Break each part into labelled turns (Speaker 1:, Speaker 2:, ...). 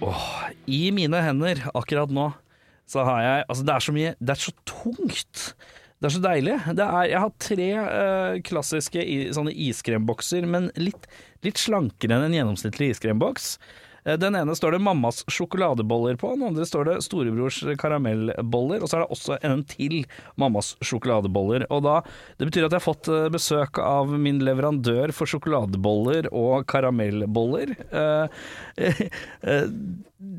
Speaker 1: Åh, I mine hender akkurat nå så har jeg Altså, det er så mye Det er så tungt. Det er så deilig. Det er, jeg har tre eh, klassiske i, sånne iskrembokser, men litt, litt slankere enn en gjennomsnittlig iskremboks. Eh, Den ene står det mammas sjokoladeboller på, den andre står det storebrors karamellboller, og så er det også en til mammas sjokoladeboller. Og da, Det betyr at jeg har fått eh, besøk av min leverandør for sjokoladeboller og karamellboller. Eh, eh,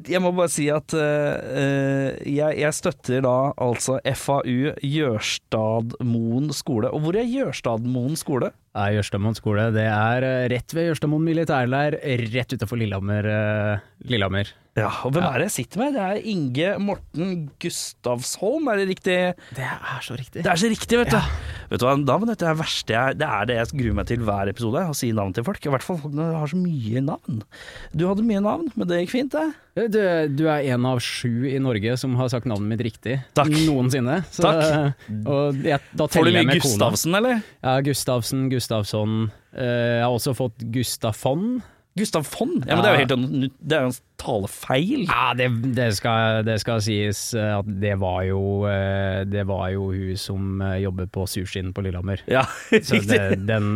Speaker 1: jeg må bare si at eh, eh, jeg, jeg støtter da altså FAU Gjørstadmoen skole. Og hvor er Gjørstadmoen skole?
Speaker 2: er Jørstadmoen skole. Det er eh, rett ved Jørstadmoen militærleir, rett utafor Lillehammer. eh, Lillehammer.
Speaker 1: Ja, og hvem er det jeg sitter med? Det er Inge Morten Gustavsholm, er det riktig?
Speaker 2: Det er så riktig.
Speaker 1: Det er så riktig, vet du. Vet du hva, navn vet du, er det verste jeg, det er det jeg gruer meg til hver episode, å si navn til folk. I hvert fall folk når de har så mye navn. Du hadde mye navn, men det gikk fint, det.
Speaker 2: Du, du er en av sju i Norge som har sagt navnet mitt riktig
Speaker 1: Takk.
Speaker 2: noensinne. Så, eh,
Speaker 1: Takk.
Speaker 2: Og jeg, da
Speaker 1: Får du
Speaker 2: teller jeg
Speaker 1: mye
Speaker 2: med kona.
Speaker 1: Gustavsen, eller?
Speaker 2: Ja, Gustavsen, Gustavsson. Eh, jeg har også fått Gustafon.
Speaker 1: Gustav Fonn? Ja, men det er jo helt en, det er jo en talefeil.
Speaker 2: Ja, det, det, skal, det skal sies eh, at det var jo eh, Det var jo hun som eh, jobber på Sushien på Lillehammer.
Speaker 1: Ja,
Speaker 2: Så
Speaker 1: riktig.
Speaker 2: det, den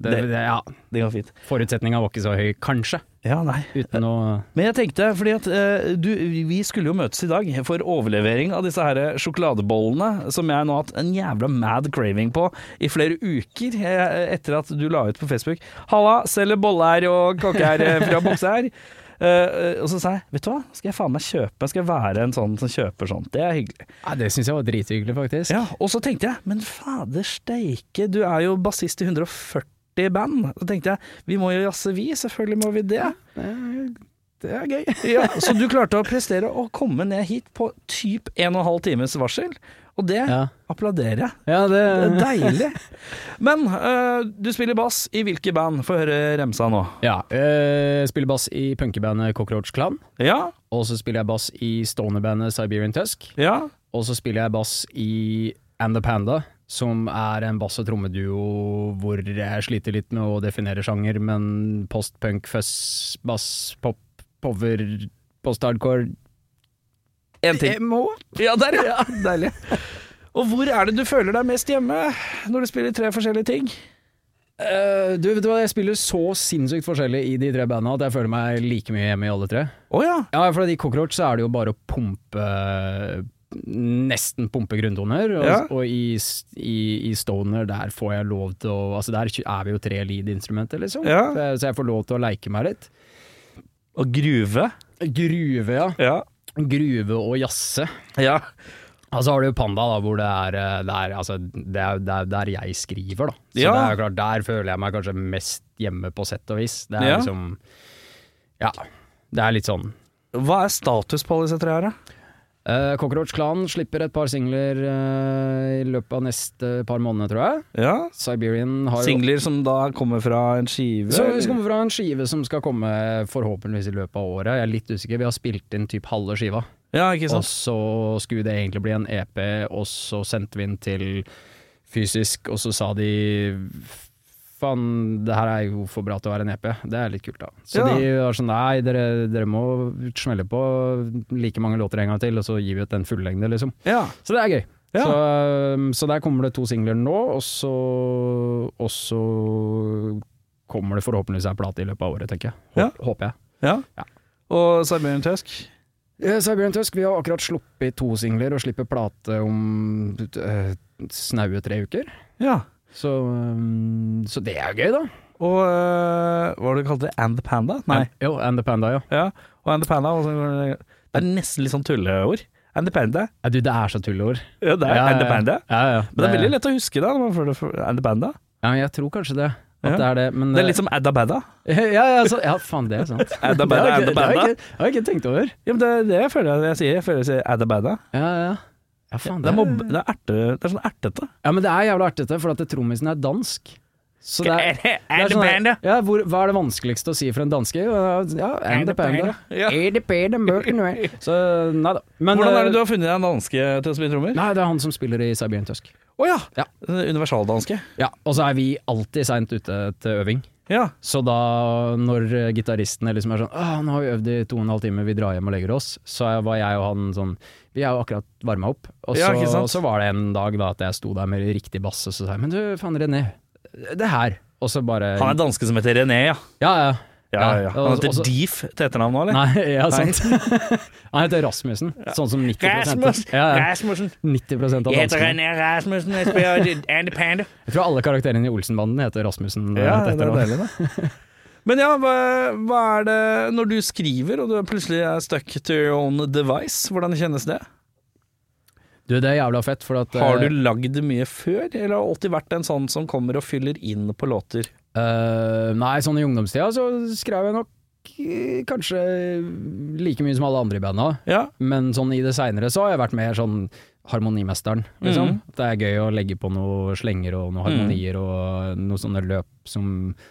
Speaker 2: det,
Speaker 1: Det-
Speaker 2: det, Ja,
Speaker 1: Det går fint.
Speaker 2: forutsetninga var ikke så høy, kanskje.
Speaker 1: Ja, nei.
Speaker 2: Uten å
Speaker 1: Men jeg tenkte, fordi at eh, du, vi skulle jo møtes i dag for overlevering av disse her eh, sjokoladebollene, som jeg nå har hatt en jævla mad craving på i flere uker eh, etter at du la ut på Facebook. Halla, selger boller og kaker eh, fra bukse her. Eh, eh, og så sa jeg, vet du hva, skal jeg faen meg kjøpe, skal jeg være en sånn som kjøper sånt, det er hyggelig.
Speaker 2: Ja, det syns jeg var drithyggelig, faktisk.
Speaker 1: Ja, og så tenkte jeg, men fader steike, du er jo bassist i 140 band. Så tenkte jeg, vi må jo jazze vi, selvfølgelig må vi det.
Speaker 2: Det er gøy.
Speaker 1: Ja, så du klarte å prestere å komme ned hit på typ en og en halv times varsel, og det
Speaker 2: Ja,
Speaker 1: applauderer jeg.
Speaker 2: ja det,
Speaker 1: Det er deilig. Men eh, du spiller bass i hvilke band? Få høre remsa nå.
Speaker 2: ja, øh, spiller bass i punkebandet Cockroach Clan.
Speaker 1: Ja,
Speaker 2: Og så spiller jeg bass i stonerbandet Siberian Tusk.
Speaker 1: ja.
Speaker 2: Og så spiller jeg bass i And the Panda, som er en bass- og trommeduo hvor jeg sliter litt med å definere sjanger, men post-punk, fuzz, bass, pop, power, post-hardcore
Speaker 1: En ting.
Speaker 2: Emo?
Speaker 1: Ja, der, ja. Deilig. Og hvor er det du føler deg mest hjemme når du spiller tre forskjellige ting?
Speaker 2: Eh, du, vet du hva, jeg spiller så sinnssykt forskjellig i de tre banda at jeg føler meg like mye hjemme i alle tre.
Speaker 1: Å ja.
Speaker 2: Ja, for i Cockroach så er det jo bare å pumpe Nesten pumpe grunntoner. Og,
Speaker 1: Ja.
Speaker 2: og i, s- i, i Stoner, der får jeg lov til å Altså der er vi jo tre lead-instrumenter, liksom.
Speaker 1: Ja.
Speaker 2: Så, jeg, så jeg får lov til å leike meg litt.
Speaker 1: Og gruve.
Speaker 2: Gruve, ja.
Speaker 1: Ja.
Speaker 2: Gruve og jazze.
Speaker 1: Ja.
Speaker 2: Altså har du jo Panda, da, hvor det er eh, det er, altså, det er, det er der jeg skriver, da. Så
Speaker 1: Ja.
Speaker 2: det er jo klart, der føler jeg meg kanskje mest hjemme, på sett og vis. Det er
Speaker 1: Ja.
Speaker 2: liksom Ja. Det er litt sånn
Speaker 1: Hva er status på alle disse tre her, da?
Speaker 2: Uh, Cockroach Clan slipper et par singler eh, i løpet av neste par måneder, tror jeg.
Speaker 1: Ja.
Speaker 2: Siberian har jo-
Speaker 1: Singler som da kommer fra en skive?
Speaker 2: Så
Speaker 1: eller?
Speaker 2: vi kommer fra en skive som skal komme forhåpentligvis i løpet av året. Jeg er litt usikker. Vi har spilt inn typ halve skiva,
Speaker 1: Ja, ikke
Speaker 2: og
Speaker 1: sant.
Speaker 2: så skulle det egentlig bli en EP, og så sendte vi den til fysisk, og så sa de Faen, det her er jo for bra til å være en EP. Det er litt kult, da. Så
Speaker 1: Ja.
Speaker 2: de var sånn Nei, dere, dere må smelle på like mange låter en gang til, og så gir vi ut den fullengde, liksom.
Speaker 1: Ja.
Speaker 2: Så det er gøy.
Speaker 1: Ja.
Speaker 2: Så, um, så der kommer det to singler nå, og så, og så kommer det forhåpentligvis ei plate i løpet av året, tenker jeg. Hå-
Speaker 1: Ja.
Speaker 2: Håper jeg.
Speaker 1: Ja. Og Siberian Tusk.
Speaker 2: Eh, Siberian Tusk, vi har akkurat sluppet to singler og slipper plate om eh, snaue tre uker.
Speaker 1: Ja.
Speaker 2: Så, eh, så det er jo gøy, da.
Speaker 1: Og øh, hva var det du kalte det? And the Panda? Nei.
Speaker 2: And, jo, and the Panda, ja.
Speaker 1: Ja. Og And the Panda og sånn- Det er nesten litt sånn tulleord. And the Panda.
Speaker 2: Ja, Du, det er så tulleord.
Speaker 1: Ja, det er
Speaker 2: Ja,
Speaker 1: And the
Speaker 2: ja, ja.
Speaker 1: Panda.
Speaker 2: Ja, ja.
Speaker 1: Men det er veldig lett å huske, da. når man får det for- And the Panda.
Speaker 2: Ja, jeg tror kanskje det. At
Speaker 1: Ja.
Speaker 2: det er det, men eh,
Speaker 1: Det er litt som Adda Badda.
Speaker 2: Ja, ja, så, ja faen, det er sant.
Speaker 1: Adda Badda,
Speaker 2: Det har jeg
Speaker 1: Adda
Speaker 2: ikke- det har jeg
Speaker 1: Badda.
Speaker 2: ikke- det har jeg ikke tenkt over.
Speaker 1: Ja, men det er det jeg føler jeg sier. Jeg føler jeg sier Adda Badda.
Speaker 2: Ja, ja. Ja,
Speaker 1: Det
Speaker 2: faen, det
Speaker 1: er, mobb,
Speaker 2: er,
Speaker 1: det er, erte, det er sånn ertete.
Speaker 2: ja, men det er jævla artig, for at trommisen er dansk. Så det er, det er
Speaker 1: And the
Speaker 2: sånn her-
Speaker 1: Panda.
Speaker 2: ja, hvor, hva er det vanskeligste å si for en danske? Ja, and the panda.
Speaker 1: Ja.
Speaker 2: Er det panda mørken vei? Så nei da. Men, eh,
Speaker 1: Hvordan er det du har funnet en danske til å spille trommer?
Speaker 2: Nei, det er han som spiller i Siberian Tusk.
Speaker 1: Å ja.
Speaker 2: Ja.
Speaker 1: Universaldanske.
Speaker 2: Ja, og så er vi alltid seint ute til øving.
Speaker 1: Ja.
Speaker 2: Så da, når eh, gitaristene liksom er sånn Åh, nå har vi øvd i to og en halv time, vi drar hjem og legger oss. Så var jeg og han sånn Vi er jo akkurat varma opp. Og så,
Speaker 1: Ja, ikke sant?
Speaker 2: så var det en dag da at jeg sto der med riktig bass, og så sa jeg Men du, faen René, det her. Og så bare
Speaker 1: Han er danske som heter René, ja.
Speaker 2: Ja, ja.
Speaker 1: ja, ja, ja. altså- Han
Speaker 2: Og-
Speaker 1: heter
Speaker 2: og så-
Speaker 1: Deef til etternavn nå, eller?
Speaker 2: Nei, ja, sant. han heter Rasmussen, sånn som
Speaker 1: altså.
Speaker 2: 90 ja, ja.
Speaker 1: Rasmussen.
Speaker 2: 90 av danskene.
Speaker 1: Rasmussen, jeg spiller Andy Panda.
Speaker 2: Jeg tror alle karakterene i Olsenbanden heter Rasmussen. eh,
Speaker 1: Ja,
Speaker 2: til
Speaker 1: det er
Speaker 2: etternavn.
Speaker 1: deilig, det. Men ja, hva, hva er det Når du skriver og du plutselig er stuck to your own device, hvordan kjennes det?
Speaker 2: Du, det er jævla fett, for at eh,
Speaker 1: Har du lagd mye før, eller har du alltid vært en sånn som kommer og fyller inn på låter?
Speaker 2: Eh, nei, sånn i ungdomstida så skrev jeg nok eh, kanskje like mye som alle andre i banda.
Speaker 1: Ja,
Speaker 2: Men sånn i det seinere så har jeg vært mer sånn harmonimesteren, liksom.
Speaker 1: Mhm.
Speaker 2: At Det er gøy å legge på noe slenger og noen harmonier og noen sånne løp som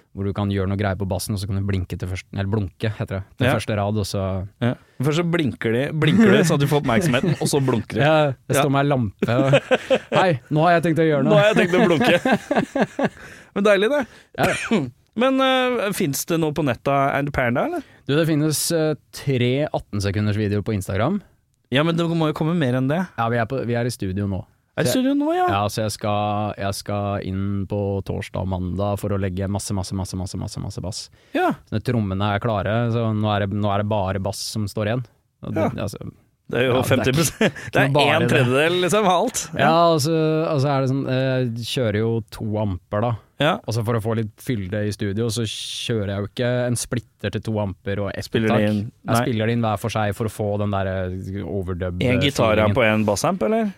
Speaker 2: hvor du kan gjøre noe greier på bassen, og så kan du blinke til første Eller blunke, heter det. Til
Speaker 1: Ja.
Speaker 2: første rad, og så
Speaker 1: Ja. Først så blinker de, blinker de sånn at du får oppmerksomheten, og så blunker de.
Speaker 2: ja, Det står meg ei lampe og Hei, nå har jeg tenkt å gjøre
Speaker 1: Nå
Speaker 2: noe!
Speaker 1: har jeg tenkt å blunke. Men deilig, det. Men uh, fins det noe på nettet av And Panda, eller?
Speaker 2: Du, det finnes eh, tre 18-sekunders videoer på Instagram.
Speaker 1: Ja, men det må jo komme mer enn det.
Speaker 2: Ja, vi er, på, vi er i studio nå.
Speaker 1: Er det studio nå, ja?
Speaker 2: Ja, så jeg skal, jeg skal inn på torsdag og mandag for å legge masse, masse, masse, masse, masse, masse bass.
Speaker 1: ja.
Speaker 2: Så når trommene er klare, så nå er det, nå er det bare bass som står igjen. Og det, ja. Altså,
Speaker 1: Det er jo
Speaker 2: Ja, det
Speaker 1: 50
Speaker 2: er
Speaker 1: Det er
Speaker 2: ikke bare
Speaker 1: en
Speaker 2: det.
Speaker 1: tredjedel liksom, av alt.
Speaker 2: ja, og så og så er det sånn Jeg kjører jo to amper, da.
Speaker 1: Ja.
Speaker 2: Og så for å få litt fylde i studio, så kjører jeg jo ikke en splitter til to amper og ett
Speaker 1: Spiller de
Speaker 2: opptak.
Speaker 1: inn? Nei.
Speaker 2: Jeg spiller det inn hver for seg for å få den eh, derre overdub.
Speaker 1: En gitar på en bassamp, eller?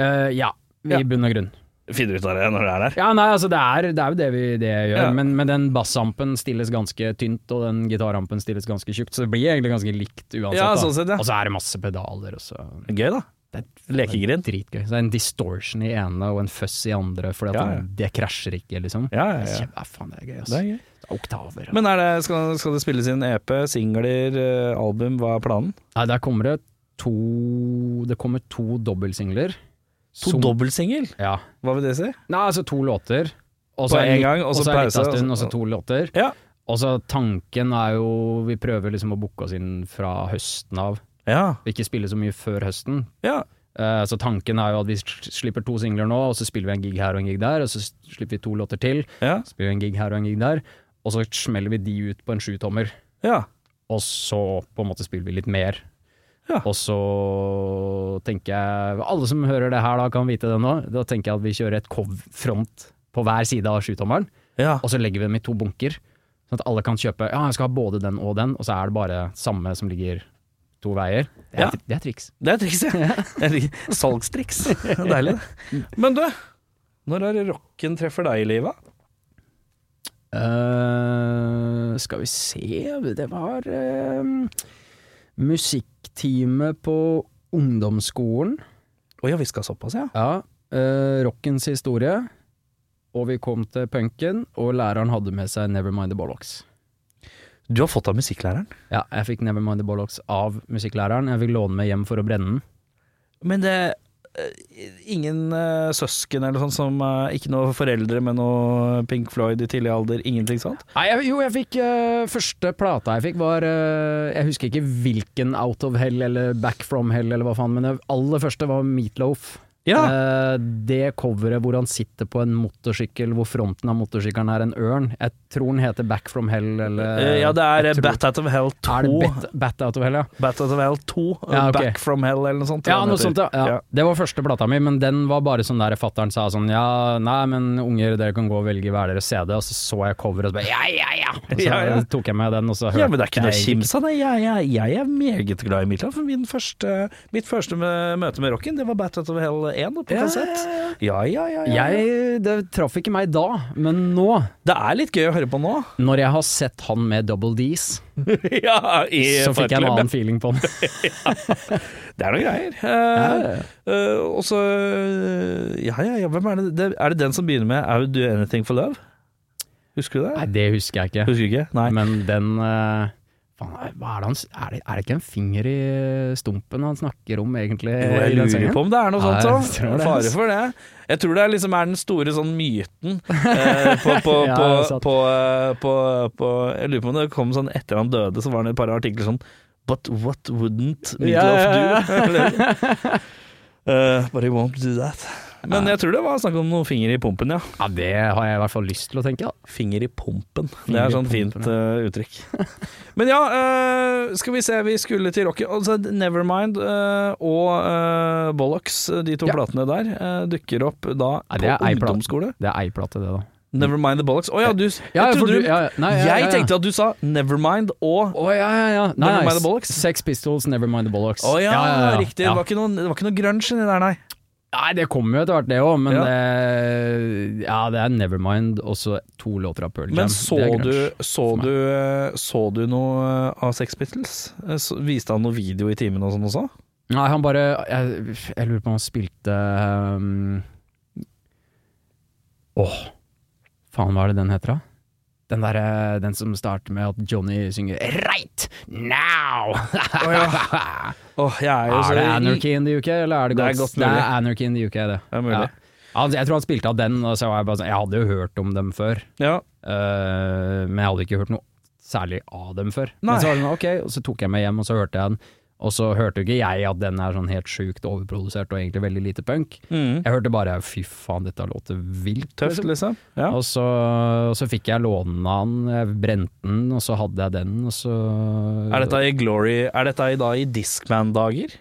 Speaker 2: Eh, ja, i
Speaker 1: Ja.
Speaker 2: bunn og grunn.
Speaker 1: Finner ut av det når det er der.
Speaker 2: Ja, nei, altså det er, det er jo det vi det jeg gjør,
Speaker 1: Ja.
Speaker 2: men, men den bassampen stilles ganske tynt, og den gitarampen stilles ganske tjukt, så det blir egentlig ganske likt uansett.
Speaker 1: Ja,
Speaker 2: da.
Speaker 1: sånn sett, ja.
Speaker 2: Og så er det masse pedaler, og så
Speaker 1: Gøy, da.
Speaker 2: det er
Speaker 1: Lekegrind.
Speaker 2: dritgøy. Så det er en distortion i ene og en fuzz i andre, for
Speaker 1: Ja, ja.
Speaker 2: det krasjer ikke, liksom.
Speaker 1: Ja, ja,
Speaker 2: Det er
Speaker 1: ja.
Speaker 2: kjempe- ja, faen, det er gøy, ass.
Speaker 1: Det er gøy.
Speaker 2: Det er Oktaver. ja.
Speaker 1: Men er det, skal, skal det spilles inn EP, singler, eh, album? Hva er planen?
Speaker 2: Nei, der kommer det to Det kommer to dobbeltsingler.
Speaker 1: To
Speaker 2: Som-
Speaker 1: dobbeltsingel,
Speaker 2: Ja.
Speaker 1: hva vil det si?
Speaker 2: Nei, altså to låter. Og
Speaker 1: På
Speaker 2: så
Speaker 1: en
Speaker 2: litt-
Speaker 1: gang, og så
Speaker 2: en
Speaker 1: pause,
Speaker 2: liten
Speaker 1: og så-
Speaker 2: stund, og så to låter.
Speaker 1: Ja.
Speaker 2: Og så tanken er jo Vi prøver liksom å booke oss inn fra høsten av.
Speaker 1: Ja.
Speaker 2: Vi ikke spiller så mye før høsten.
Speaker 1: ja.
Speaker 2: Eh, så tanken er jo at vi s- slipper to singler nå, og så spiller vi en gig her og en gig der, og så s- slipper vi to låter til,
Speaker 1: Ja.
Speaker 2: spiller vi en gig her og en gig der, og så smeller vi de ut på en sjutommer,
Speaker 1: ja.
Speaker 2: og så på en måte spiller vi litt mer.
Speaker 1: Ja.
Speaker 2: Og så tenker jeg Alle som hører det her da, kan vite det nå. Da tenker jeg at vi kjører et cov- front på hver side av sjutommeren
Speaker 1: ja.
Speaker 2: og så legger vi dem i to bunker, sånn at alle kan kjøpe Ja, jeg skal ha både den og den, og så er det bare samme som ligger to veier. Det er,
Speaker 1: Ja.
Speaker 2: det er triks.
Speaker 1: Det er triks, ja. Jeg liker- Salgstriks. Det er Deilig, det. Men du, når er det rocken treffer deg i livet?
Speaker 2: Eh, skal vi se Det var uh, musikktime på ungdomsskolen.
Speaker 1: Å ja, vi skal såpass, ja.
Speaker 2: Ja. eh, rockens historie. Og vi kom til punken, og læreren hadde med seg Nevermind the Bollocks.
Speaker 1: Du har fått av musikklæreren.
Speaker 2: Ja, jeg fikk Nevermind the Bollocks av musikklæreren. Jeg fikk låne med hjem for å brenne den.
Speaker 1: Men det eh, Ingen eh, søsken eller sånn som eh, Ikke noe foreldre med noe Pink Floyd i tidlig alder, ingenting sånt?
Speaker 2: Nei, jeg, jo, jeg fikk eh, Første plata jeg fikk var eh, Jeg husker ikke hvilken Out of Hell eller Back from Hell eller hva faen, men det aller første var Meatloaf.
Speaker 1: Ja.
Speaker 2: Eh, Det coveret hvor han sitter på en motorsykkel hvor fronten av motorsykkelen er en ørn. Jeg tror den heter Back from Hell eller
Speaker 1: Eh, ja, det er
Speaker 2: jeg
Speaker 1: eh,
Speaker 2: tror-
Speaker 1: Bat Out of Hell 2.
Speaker 2: Er det Bat, Bat Out of Hell, ja?
Speaker 1: Bat Out of Hell 2, eh,
Speaker 2: Ja, ok.
Speaker 1: Back from Hell eller noe sånt.
Speaker 2: Ja,
Speaker 1: den
Speaker 2: noe
Speaker 1: heter.
Speaker 2: sånt, ja.
Speaker 1: Ja.
Speaker 2: ja. Det var første plata mi, men den var bare sånn der fatteren sa sånn ja, nei, men unger, dere kan gå og velge hver deres CD, og så så jeg coveret og så bare ja, ja, ja! Og så
Speaker 1: Ja, ja.
Speaker 2: tok jeg med den, og så hørte
Speaker 1: Ja, men det er ikke noe
Speaker 2: jeg-
Speaker 1: kims av det. Jeg, jeg, jeg er meget glad i Mika. For min første, mitt første mø- møte med rocken, det var Bat Out of Hell 1 på kassett. Ja, ja, ja. ja, ja.
Speaker 2: Jeg, det traff ikke meg da, men nå,
Speaker 1: Det er litt gøy å høre på nå.
Speaker 2: når jeg har sett han med double D's,
Speaker 1: ja, i
Speaker 2: så fikk jeg
Speaker 1: farklubben.
Speaker 2: en annen feeling på han.
Speaker 1: Det er noen greier. Eh, eh, og så eh, ja, ja, ja, hvem er det? det? Er det den som begynner med 'I would do anything for love'? Husker du det?
Speaker 2: Nei, det husker jeg ikke,
Speaker 1: Husker ikke? Nei.
Speaker 2: men den eh, faen, hva er, det han, s- er, det, er det ikke en finger i stumpen han snakker om, egentlig?
Speaker 1: Jo, jeg
Speaker 2: Eh, i den
Speaker 1: lurer
Speaker 2: sangen?
Speaker 1: på om det er noe sånt.
Speaker 2: Nei,
Speaker 1: Så.
Speaker 2: jeg tror det,
Speaker 1: Fare
Speaker 2: altså.
Speaker 1: for det. Jeg tror det er liksom er den store sånn myten eh, på, på,
Speaker 2: Ja,
Speaker 1: på,
Speaker 2: sant.
Speaker 1: på, eh, på, på Jeg lurer på om det kom sånn etter han døde, så var det et par artikler sånn But what wouldn't Midlof
Speaker 2: Ja,
Speaker 1: do? Eller, eh, but he won't do that. Men jeg tror det var snakk om noen finger i pumpen, ja.
Speaker 2: Ja, det har jeg i hvert fall lyst til å tenke, da.
Speaker 1: Finger i pumpen. Det
Speaker 2: Finger
Speaker 1: er
Speaker 2: i
Speaker 1: sånn fint
Speaker 2: pumpen,
Speaker 1: eh, uttrykk. Men ja, eh, skal vi se. Vi skulle til Rocky. Altså, Nevermind eh, og eh, Bollocks, eh, de to
Speaker 2: Ja.
Speaker 1: platene der, eh, dukker opp da
Speaker 2: Ja,
Speaker 1: på
Speaker 2: det er ei plate.
Speaker 1: ungdomsskole.
Speaker 2: Det er ei plate, det, da.
Speaker 1: Nevermind the Bollocks. Å ja, du
Speaker 2: Ja,
Speaker 1: jeg,
Speaker 2: for
Speaker 1: trodde
Speaker 2: du,
Speaker 1: du,
Speaker 2: ja, ja. Nei, ja, ja,
Speaker 1: jeg
Speaker 2: ja.
Speaker 1: tenkte at du sa Nevermind og
Speaker 2: Å, ja, ja, ja. Nei,
Speaker 1: Nevermind
Speaker 2: nei,
Speaker 1: the Bollocks.
Speaker 2: Sex Pistols, Nevermind the Bollocks.
Speaker 1: Å ja,
Speaker 2: ja, ja.
Speaker 1: riktig.
Speaker 2: Ja.
Speaker 1: Det, var ikke noe, det var ikke noe grunge inni der, nei.
Speaker 2: Nei, det kommer jo etter hvert, det òg, men
Speaker 1: Ja.
Speaker 2: Det, ja, det er Nevermind og så to låter av Pearl Jam.
Speaker 1: Men så
Speaker 2: Det er
Speaker 1: du,
Speaker 2: grunge.
Speaker 1: så,
Speaker 2: for meg.
Speaker 1: du, eh, så du noe eh, av Sex Pistols? Eh, så- Viste han noe video i timen og sånn også?
Speaker 2: Nei, han bare Jeg, jeg lurer på om han spilte ehm, Åh, faen, hva er det den heter, da? Den, der, eh, den som starter med at Johnny synger 'Right now'!
Speaker 1: Åh, jeg er jo
Speaker 2: er
Speaker 1: så
Speaker 2: det Anarchy in the UK, eller er det,
Speaker 1: Det er
Speaker 2: Gods?
Speaker 1: godt
Speaker 2: det
Speaker 1: mulig.
Speaker 2: er Anarchy in the UK, det.
Speaker 1: Det er mulig.
Speaker 2: Ja. Altså, jeg tror han spilte av den, og så var jeg bare sånn Jeg hadde jo hørt om dem før,
Speaker 1: Ja.
Speaker 2: eh, men jeg hadde ikke hørt noe særlig av dem før.
Speaker 1: Nei.
Speaker 2: Men så var det sånn, ok, og så tok jeg meg hjem, og så hørte jeg den. Og så hørte jo ikke jeg at den er sånn helt sjukt overprodusert og egentlig veldig lite punk.
Speaker 1: Mm.
Speaker 2: Jeg hørte bare fy faen, dette låter vilt.
Speaker 1: Tøft,
Speaker 2: liksom.
Speaker 1: liksom. Ja.
Speaker 2: Og så, og så fikk jeg låne den, jeg brente den, og så hadde jeg den, og så
Speaker 1: Er dette i Glory Er dette i, da i Discman-dager?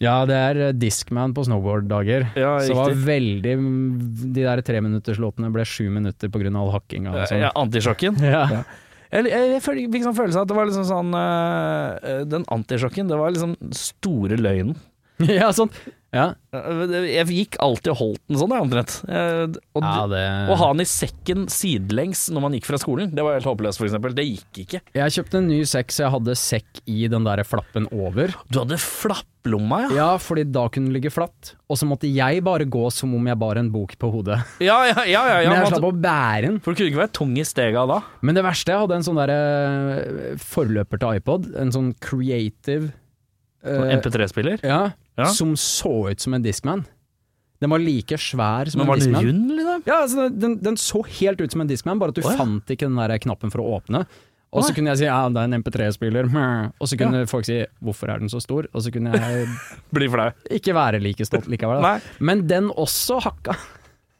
Speaker 2: Ja, det er eh, Discman på snowboard-dager.
Speaker 1: Ja,
Speaker 2: Så det var veldig mm, De der treminutterslåtene ble sju minutter på grunn av all hakkinga og
Speaker 1: Eh,
Speaker 2: sånn.
Speaker 1: Ja, Antisjokken?
Speaker 2: Ja.
Speaker 1: Jeg, jeg, jeg føl- fikk sånn følelse av at det var liksom sånn eh, Den antisjokken, det var liksom store løgnen.
Speaker 2: ja, sånn. Ja,
Speaker 1: Eh, Jeg gikk alltid og holdt den sånn, jeg, omtrent. Eh, Og,
Speaker 2: ja det
Speaker 1: og ha den i sekken sidelengs når man gikk fra skolen, det var helt håpløst, for eksempel. Det gikk ikke.
Speaker 2: Jeg kjøpte en ny sekk, så jeg hadde sekk i den der flappen over.
Speaker 1: Du hadde flapplomma, ja.
Speaker 2: Ja, fordi da kunne den ligge flatt. Og så måtte jeg bare gå som om jeg bar en bok på hodet.
Speaker 1: Ja, ja, ja. ja, ja
Speaker 2: Men jeg
Speaker 1: man-
Speaker 2: slapp å bære den.
Speaker 1: for du kunne ikke være tung i stega da.
Speaker 2: Men det verste, jeg hadde en sånn der eh, forløper til iPod. En sånn creative eh,
Speaker 1: MP3-spiller.
Speaker 2: ja,
Speaker 1: Ja.
Speaker 2: Som så ut som en Discman. Den var like svær som
Speaker 1: Men
Speaker 2: en
Speaker 1: var den
Speaker 2: Discman.
Speaker 1: rund, liksom?
Speaker 2: Ja, altså, den, den så helt ut som en Discman, bare at du
Speaker 1: Å, ja.
Speaker 2: fant ikke den der knappen for å åpne. Og
Speaker 1: Å, ja.
Speaker 2: så kunne jeg si ja, det er en MP3-spiller, meh. og så kunne folk si hvorfor er den så stor, og så kunne jeg
Speaker 1: Blir flau.
Speaker 2: ikke være like stolt likevel. Da.
Speaker 1: Nei.
Speaker 2: Men den også hakka.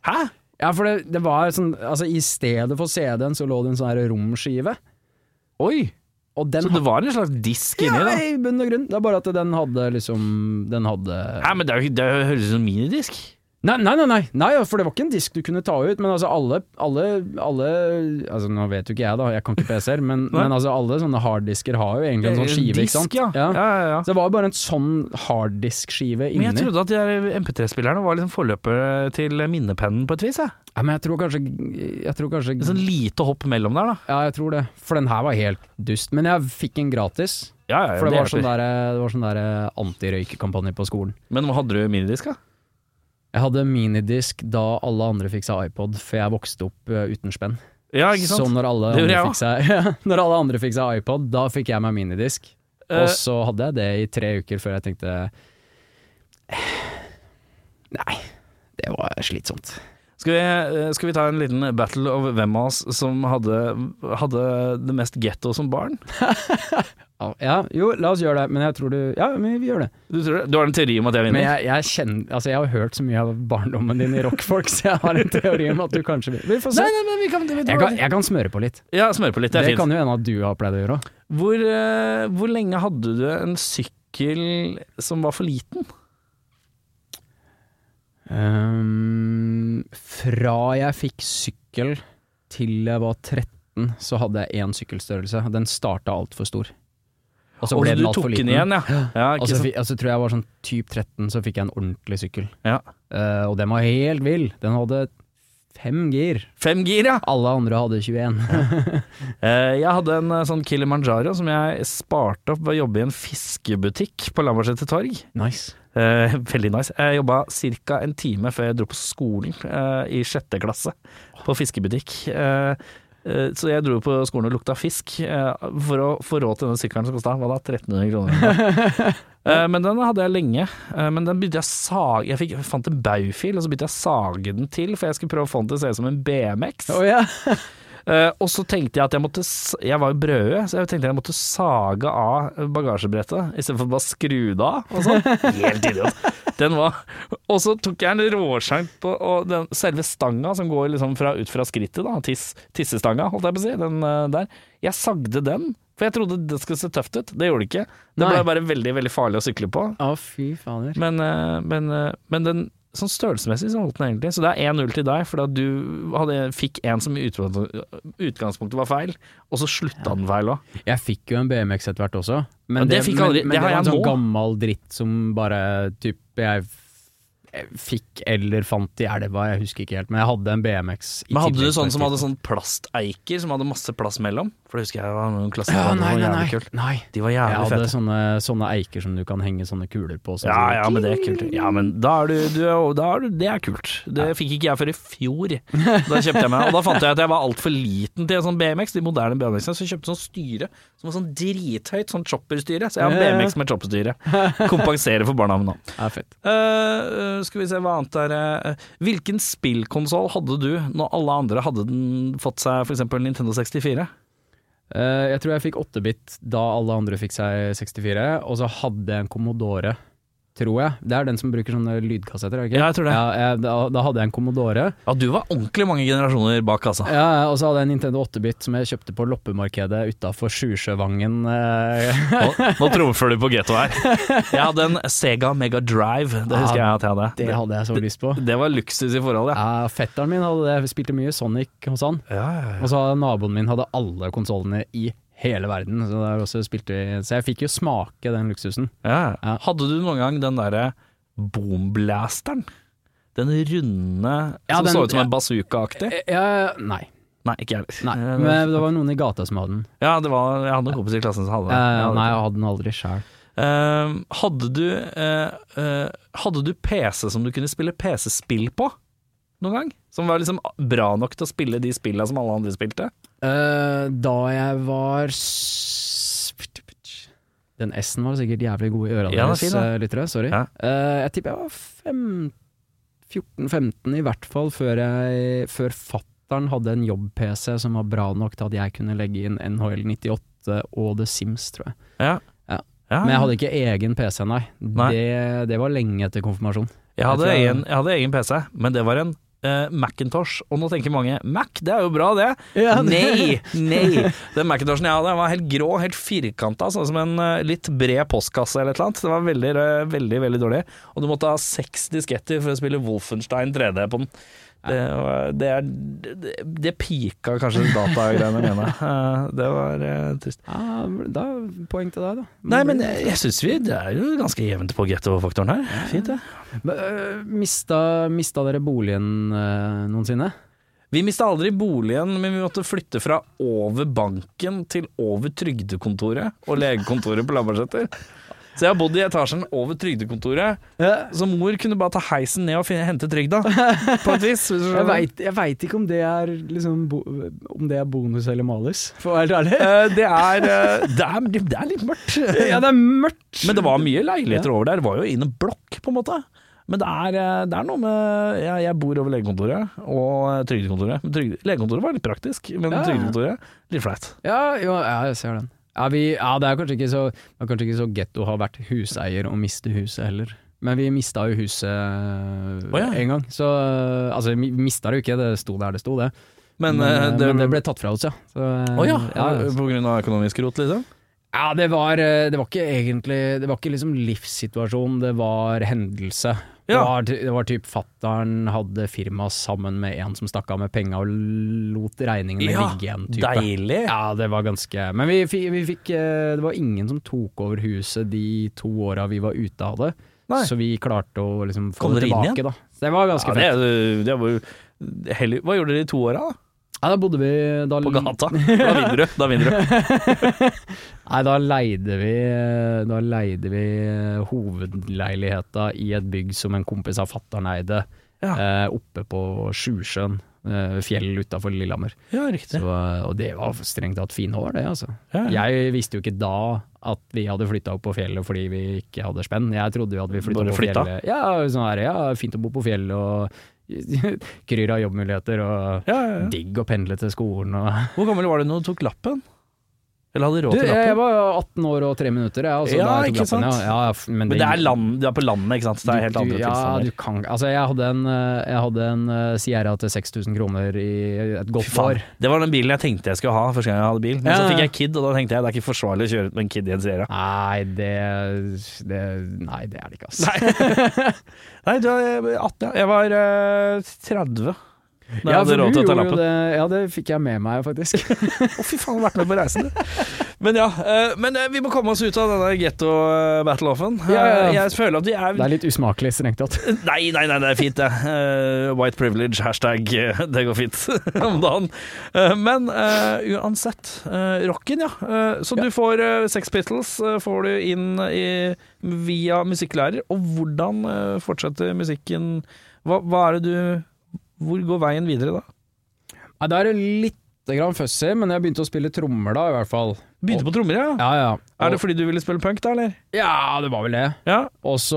Speaker 1: Hæ?
Speaker 2: Ja, for det, det var sånn, altså i stedet for CD-en så lå det en sånn her romskive,
Speaker 1: Oi!
Speaker 2: og den
Speaker 1: Så det var en slags disk inni,
Speaker 2: ja,
Speaker 1: da?
Speaker 2: i bunn og grunn. Det er bare at den hadde liksom Den hadde
Speaker 1: Hæ, men det, er jo ikke- det høres ut som minidisk.
Speaker 2: Nei, nei, nei, nei, nei, ja, for det var ikke en disk du kunne ta ut, men altså alle, alle, alle altså Nå vet jo ikke jeg, da, jeg kan ikke PC-er, men,
Speaker 1: Nei.
Speaker 2: men altså alle sånne harddisker har jo egentlig en sånn skive,
Speaker 1: disk,
Speaker 2: ikke sant?
Speaker 1: Ja. Ja, ja, ja.
Speaker 2: Så det var jo bare en sånn harddisk-skive inni.
Speaker 1: Men jeg trodde at de der MP3-spillerne var liksom forløper til minnepennen på et vis. Jeg.
Speaker 2: ja, men jeg tror kanskje, jeg tror kanskje
Speaker 1: Et sånn lite hopp mellom der, da.
Speaker 2: Ja, jeg tror det, for den her var helt dust. Men jeg fikk en gratis,
Speaker 1: Ja, ja, ja,
Speaker 2: for det, var
Speaker 1: hjelper.
Speaker 2: sånn der, det var sånn der antirøykekampanje på skolen.
Speaker 1: Men hadde du minidisk, da?
Speaker 2: Jeg hadde minidisk da alle andre fikk seg iPod, for jeg vokste opp eh, uten spenn.
Speaker 1: Ja, ikke sant?
Speaker 2: Så når alle,
Speaker 1: Det gjorde
Speaker 2: andre
Speaker 1: jeg
Speaker 2: fikk seg, når alle andre fikk seg iPod, da fikk jeg meg minidisk.
Speaker 1: Eh.
Speaker 2: og så hadde jeg det i tre uker før jeg tenkte Nei, det var slitsomt.
Speaker 1: Skal vi, eh, skal vi ta en liten battle of hvem av oss som hadde, hadde det mest getto som barn?
Speaker 2: Ja, jo, la oss gjøre det, men jeg tror du Ja, men vi gjør det.
Speaker 1: Du, tror det? du har en teori om at jeg vinner?
Speaker 2: Men jeg, jeg kjenner Altså, jeg har hørt så mye av barndommen din i rockfolk, så jeg har en teori om at du kanskje vil Vi får se.
Speaker 1: Nei, nei, men vi kan, vi tar-
Speaker 2: Jeg kan, jeg kan smøre på litt.
Speaker 1: Ja, smør på litt, det
Speaker 2: Det
Speaker 1: er fint.
Speaker 2: kan jo hende at du har pleid å gjøre òg.
Speaker 1: Hvor, eh, hvor lenge hadde du en sykkel som var for liten?
Speaker 2: Ehm, fra jeg fikk sykkel til jeg var 13, så hadde jeg én sykkelstørrelse. Den starta altfor stor. Og så
Speaker 1: Og
Speaker 2: ble
Speaker 1: Altså, du
Speaker 2: den altfor
Speaker 1: tok
Speaker 2: liten.
Speaker 1: den igjen, ja. ja
Speaker 2: Og
Speaker 1: ikke
Speaker 2: så
Speaker 1: sant?
Speaker 2: fi- og så tror jeg jeg var sånn typ 13, så fikk jeg en ordentlig sykkel.
Speaker 1: Ja.
Speaker 2: Eh, og den var helt vill. Den hadde fem gir.
Speaker 1: Fem gir, ja.
Speaker 2: Alle andre hadde 21.
Speaker 1: Eh, Jeg hadde en eh, sånn Kilimanjaro som jeg sparte opp ved å jobbe i en fiskebutikk på Lambertseter torg.
Speaker 2: nice.
Speaker 1: Eh, veldig nice. Jeg jobba ca. en time før jeg dro på skolen eh, i sjette klasse, på fiskebutikk. Eh, eh, så jeg dro på skolen og lukta fisk eh, for å få råd til denne sykkelen som kosta 1300 kroner. Eh, men den hadde jeg lenge. Eh, men den begynte jeg å sage Jeg fikk, fant en baufil, og så begynte jeg å sage den til, for jeg skulle prøve å få den til å se ut som en BMX.
Speaker 2: ja.
Speaker 1: Eh, og så tenkte jeg at jeg måtte s- Jeg var jo brødø, så jeg tenkte jeg måtte sage av bagasjebrettet istedenfor bare skru det av. Og sånn. Helt idiot. Den var Og så tok jeg en råsjank på og den selve stanga som går liksom fra, ut fra skrittet, da. Tiss, tissestanga, holdt jeg på å si. Den eh, der. Jeg sagde den, for jeg trodde det skulle se tøft ut. Det gjorde det ikke. Det
Speaker 2: Nei.
Speaker 1: ble bare veldig, veldig farlig å sykle på.
Speaker 2: Å, fy fader.
Speaker 1: Men, eh, men, eh, men den Sånn størrelsesmessig så holdt den egentlig, så det er 1-0 til deg, fordi at du hadde, fikk en som i utgangspunktet utgangspunktet var feil, og så slutta den feil òg.
Speaker 2: Jeg fikk jo en BMX etter hvert også.
Speaker 1: Men det fikk jeg aldri-
Speaker 2: men, men
Speaker 1: det
Speaker 2: det,
Speaker 1: har
Speaker 2: var en
Speaker 1: jeg
Speaker 2: sånn
Speaker 1: nå.
Speaker 2: gammel dritt som bare typ, jeg f- jeg fikk eller fant i elva, jeg husker ikke helt. Men jeg hadde en BMX. i
Speaker 1: Men hadde du
Speaker 2: tillegg på
Speaker 1: sånn
Speaker 2: et
Speaker 1: som hadde
Speaker 2: tidspunkt.
Speaker 1: sånn plasteiker som hadde masse plass mellom? For det husker jeg var noen klasser
Speaker 2: ja,
Speaker 1: som
Speaker 2: nei,
Speaker 1: var
Speaker 2: nei,
Speaker 1: jævlig
Speaker 2: nei.
Speaker 1: kult.
Speaker 2: nei.
Speaker 1: De var
Speaker 2: Jeg
Speaker 1: jævlig
Speaker 2: hadde
Speaker 1: fete.
Speaker 2: sånne, sånne eiker som du kan henge sånne kuler på. Sånn,
Speaker 1: Ja,
Speaker 2: som-
Speaker 1: ja, men det er kult. Ja, men da er du, du, er- da er du Det er kult. Det fikk ikke jeg før i fjor. Da kjøpte jeg meg Og da fant jeg at jeg var altfor liten til en sånn BMX. De moderne BMX-ene. Så jeg kjøpte sånn styre som var sånn drithøyt, sånn chopperstyre. Så jeg har
Speaker 2: Ja, ja, ja.
Speaker 1: BMX med chopperstyre. Kompenserer for barna mine nå.
Speaker 2: Det er fett.
Speaker 1: Eh, skal vi se hva annet er eh, Hvilken spillkonsoll hadde du når alle andre hadde den fått seg f.eks. Nintendo 64?
Speaker 2: Eh, jeg tror jeg fikk 8-bit da alle andre fikk seg 64, og så hadde jeg en Commodore, tror jeg. Det er den som bruker sånne lydkassetter, er det ikke?
Speaker 1: Ja, jeg tror det.
Speaker 2: jeg, da, da hadde jeg en Commodore.
Speaker 1: Ja, du var ordentlig mange generasjoner bak, altså.
Speaker 2: Ja, og så hadde jeg en Nintendo 8-bit som jeg kjøpte på loppemarkedet utafor Sjusjøvangen. eh.
Speaker 1: Nå, nå trumfer du på getto her. Jeg hadde en Sega Mega Drive, det husker jeg at jeg hadde.
Speaker 2: Det hadde jeg så lyst på.
Speaker 1: Det, det var luksus i forhold, ja.
Speaker 2: Ja, fetteren min hadde det, vi spilte mye Sonic hos han.
Speaker 1: Ja, ja, ja.
Speaker 2: Og så hadde naboen min hadde alle konsollene i hele verden, så, der også spilte vi. så jeg fikk jo smake den luksusen.
Speaker 1: ja. Hadde du noen gang den derre boomblasteren? Den runde
Speaker 2: Ja,
Speaker 1: som
Speaker 2: den-
Speaker 1: så ut som
Speaker 2: ja.
Speaker 1: en bazooka-aktig?
Speaker 2: Eh, nei.
Speaker 1: Eh, Nei, ikke jeg
Speaker 2: nei.
Speaker 1: heller.
Speaker 2: Men det var noen i gata som hadde den.
Speaker 1: Ja, det var, jeg hadde noen kompiser i klassen som hadde det. Jeg
Speaker 2: Eh,
Speaker 1: hadde
Speaker 2: nei,
Speaker 1: ikke.
Speaker 2: jeg hadde den aldri sjæl.
Speaker 1: Eh, hadde du eh, eh, Hadde du PC som du kunne spille PC-spill på noen gang? Som var liksom bra nok til å spille de spillene som alle andre spilte?
Speaker 2: Eh, da jeg var s- Den S-en var sikkert jævlig god i ørene
Speaker 1: Ja, den er
Speaker 2: deres,
Speaker 1: fin, da.
Speaker 2: eh, lyttere. Sorry.
Speaker 1: Ja.
Speaker 2: Eh, jeg tipper jeg var fem- 14-15 i hvert fall før, jeg- før fattern hadde en jobb-PC som var bra nok til at jeg kunne legge inn NHL 98 og The Sims, tror jeg.
Speaker 1: Ja,
Speaker 2: Men jeg hadde ikke egen PC, nei.
Speaker 1: Ah. Nei.
Speaker 2: Det, det var lenge etter konfirmasjon.
Speaker 1: jeg hadde
Speaker 2: jeg tror jeg-
Speaker 1: egen, jeg hadde egen PC, men det var en eh, Macintosh. Og nå tenker mange Mac, det er jo bra, det. Nei, nei. Den Macintoshen jeg hadde, den var helt grå, helt firkanta, sånn som en eh, litt bred postkasse eller et eller annet. Det var veldig, eh, veldig veldig dårlig. Og du måtte ha seks disketter for å spille Wolfenstein 3D på den. Det, var, det, er, det, det pika kanskje datagreiene mine. Eh, Det var eh, trist.
Speaker 2: Ja, da Poeng til deg, da.
Speaker 1: Nei, men eh, jeg, jeg syns vi Det er jo ganske jevnt på getto-faktoren her. Fint, det.
Speaker 2: Men, øh, mista, mista dere boligen øh, noensinne?
Speaker 1: Vi mista aldri boligen, men vi måtte flytte fra over banken til over trygdekontoret og legekontoret på Lambertseter. Så jeg har bodd i etasjen over trygdekontoret, så mor kunne bare ta heisen ned og finne, hente trygda. På et vis. hvis du skjønner.
Speaker 2: veit ikke om det er liksom, bonus eller malus, for å være helt ærlig.
Speaker 1: Eh, Det er, eh, det, er, det er litt mørkt.
Speaker 2: Ja, det er mørkt.
Speaker 1: Men det var mye leiligheter over der. Det var jo i en blokk, på en måte. Men det er, eh, det er noe med jeg, jeg bor over legekontoret og eh, trygdekontoret. Men trygde, legekontoret var litt praktisk, men
Speaker 2: Ja.
Speaker 1: trygdekontoret litt flaut.
Speaker 2: Ja, jo, ja, jeg ser den. Ja, vi, ja, det er kanskje ikke så, det er kanskje ikke så getto å ha vært huseier og miste huset heller. Men vi mista jo huset
Speaker 1: ja.
Speaker 2: en gang. Så, altså, vi mista det jo ikke, det sto der det sto, det.
Speaker 1: Men,
Speaker 2: Men, eh,
Speaker 1: eh, det,
Speaker 2: men det ble tatt fra oss, ja. Så, eh,
Speaker 1: Å ja,
Speaker 2: ja, ja.
Speaker 1: på grunn av økonomisk rot, liksom?
Speaker 2: Ja, det var, eh, det var ikke egentlig Det var ikke liksom livssituasjon, det var hendelse. Det,
Speaker 1: Ja.
Speaker 2: var, ty- det var typ fattern hadde firma sammen med en som stakk av med penga og lot regningene ligge igjen. type.
Speaker 1: deilig!
Speaker 2: Ja, det var ganske Men vi, fi- vi fikk eh, Det var ingen som tok over huset de to åra vi var ute av det.
Speaker 1: Nei.
Speaker 2: Så vi klarte å liksom få
Speaker 1: Kom
Speaker 2: det
Speaker 1: dere inn
Speaker 2: tilbake, da. Så det var ganske
Speaker 1: Ja,
Speaker 2: fett.
Speaker 1: det, det var jo heldig. Hva gjorde dere i to åra, da?
Speaker 2: Ja, da bodde vi da,
Speaker 1: På gata? Da vinner du. Da vinner du.
Speaker 2: Nei, da leide vi eh, Da leide vi eh, hovedleiligheta i et bygg som en kompis av fattern eide,
Speaker 1: Ja.
Speaker 2: eh, oppe på Sjusjøen. eh, Fjell utafor Lillehammer.
Speaker 1: Ja, riktig.
Speaker 2: Så, eh, og det var strengt tatt fine år, det, altså.
Speaker 1: Ja, ja.
Speaker 2: Jeg visste jo ikke da at vi hadde flytta opp på fjellet fordi vi ikke hadde spenn. Jeg trodde jo at vi flytta
Speaker 1: Bare
Speaker 2: på
Speaker 1: flytta?
Speaker 2: fjellet. Ja, sånn her, ja, fint å bo på fjellet og kryr av jobbmuligheter og
Speaker 1: Ja, ja, ja.
Speaker 2: digg å pendle til skolen og
Speaker 1: Hvor gammel var du når du tok lappen? Eller hadde
Speaker 2: Du,
Speaker 1: råd
Speaker 2: jeg,
Speaker 1: til
Speaker 2: jeg
Speaker 1: lappen?
Speaker 2: var 18 år og 3 minutter, jeg. Altså,
Speaker 1: Ja,
Speaker 2: da jeg tok
Speaker 1: ikke sant?
Speaker 2: lappen, Ja, ja, f- men,
Speaker 1: Men det er, land, det er på landet, ikke sant? Så det er helt
Speaker 2: du,
Speaker 1: andre
Speaker 2: ja,
Speaker 1: tilstander.
Speaker 2: du kan, altså jeg hadde en, eh, jeg hadde en eh, Sierra til 6000 kroner i et
Speaker 1: Fy
Speaker 2: godt
Speaker 1: faen,
Speaker 2: år.
Speaker 1: Det var den bilen jeg tenkte jeg skulle ha første gang jeg hadde bil. Men
Speaker 2: Ja,
Speaker 1: så
Speaker 2: ja.
Speaker 1: fikk jeg kid, og da tenkte jeg det er ikke forsvarlig å kjøre ut med en kid i en Sierra.
Speaker 2: Nei, det, det Nei, det er det ikke, altså.
Speaker 1: Nei, du er 18, ja. Jeg var eh, 30. Da jeg
Speaker 2: ja,
Speaker 1: hadde
Speaker 2: for
Speaker 1: råd
Speaker 2: du
Speaker 1: til å ta
Speaker 2: gjorde jo
Speaker 1: lappen.
Speaker 2: det, ja, det fikk jeg med meg, faktisk.
Speaker 1: Å, fy faen, jeg har vært med på reisen. Men ja, eh, men eh, vi må komme oss ut av denne getto-battle-offen.
Speaker 2: Ja, ja, ja.
Speaker 1: Jeg føler at vi er
Speaker 2: Det er litt usmakelig, strengt tatt.
Speaker 1: Nei, nei, nei, det er fint det. Eh, white privilege, hashtag, eh, det går fint om dagen. Eh, men eh, uansett, eh, rocken, ja. Eh, så du får eh, Sex Pistols eh, får du inn i, via musikklærer. Og hvordan eh, fortsetter musikken? Hva, hva er det du Hvor går veien videre da?
Speaker 2: Nei, da er det lite grann fussy, men jeg begynte å spille trommer da, i hvert fall.
Speaker 1: Begynte på trommer, ja.
Speaker 2: Ja, ja.
Speaker 1: Er det fordi du ville spille punk, da, eller?
Speaker 2: ja, det var vel det.
Speaker 1: Ja.
Speaker 2: Og så,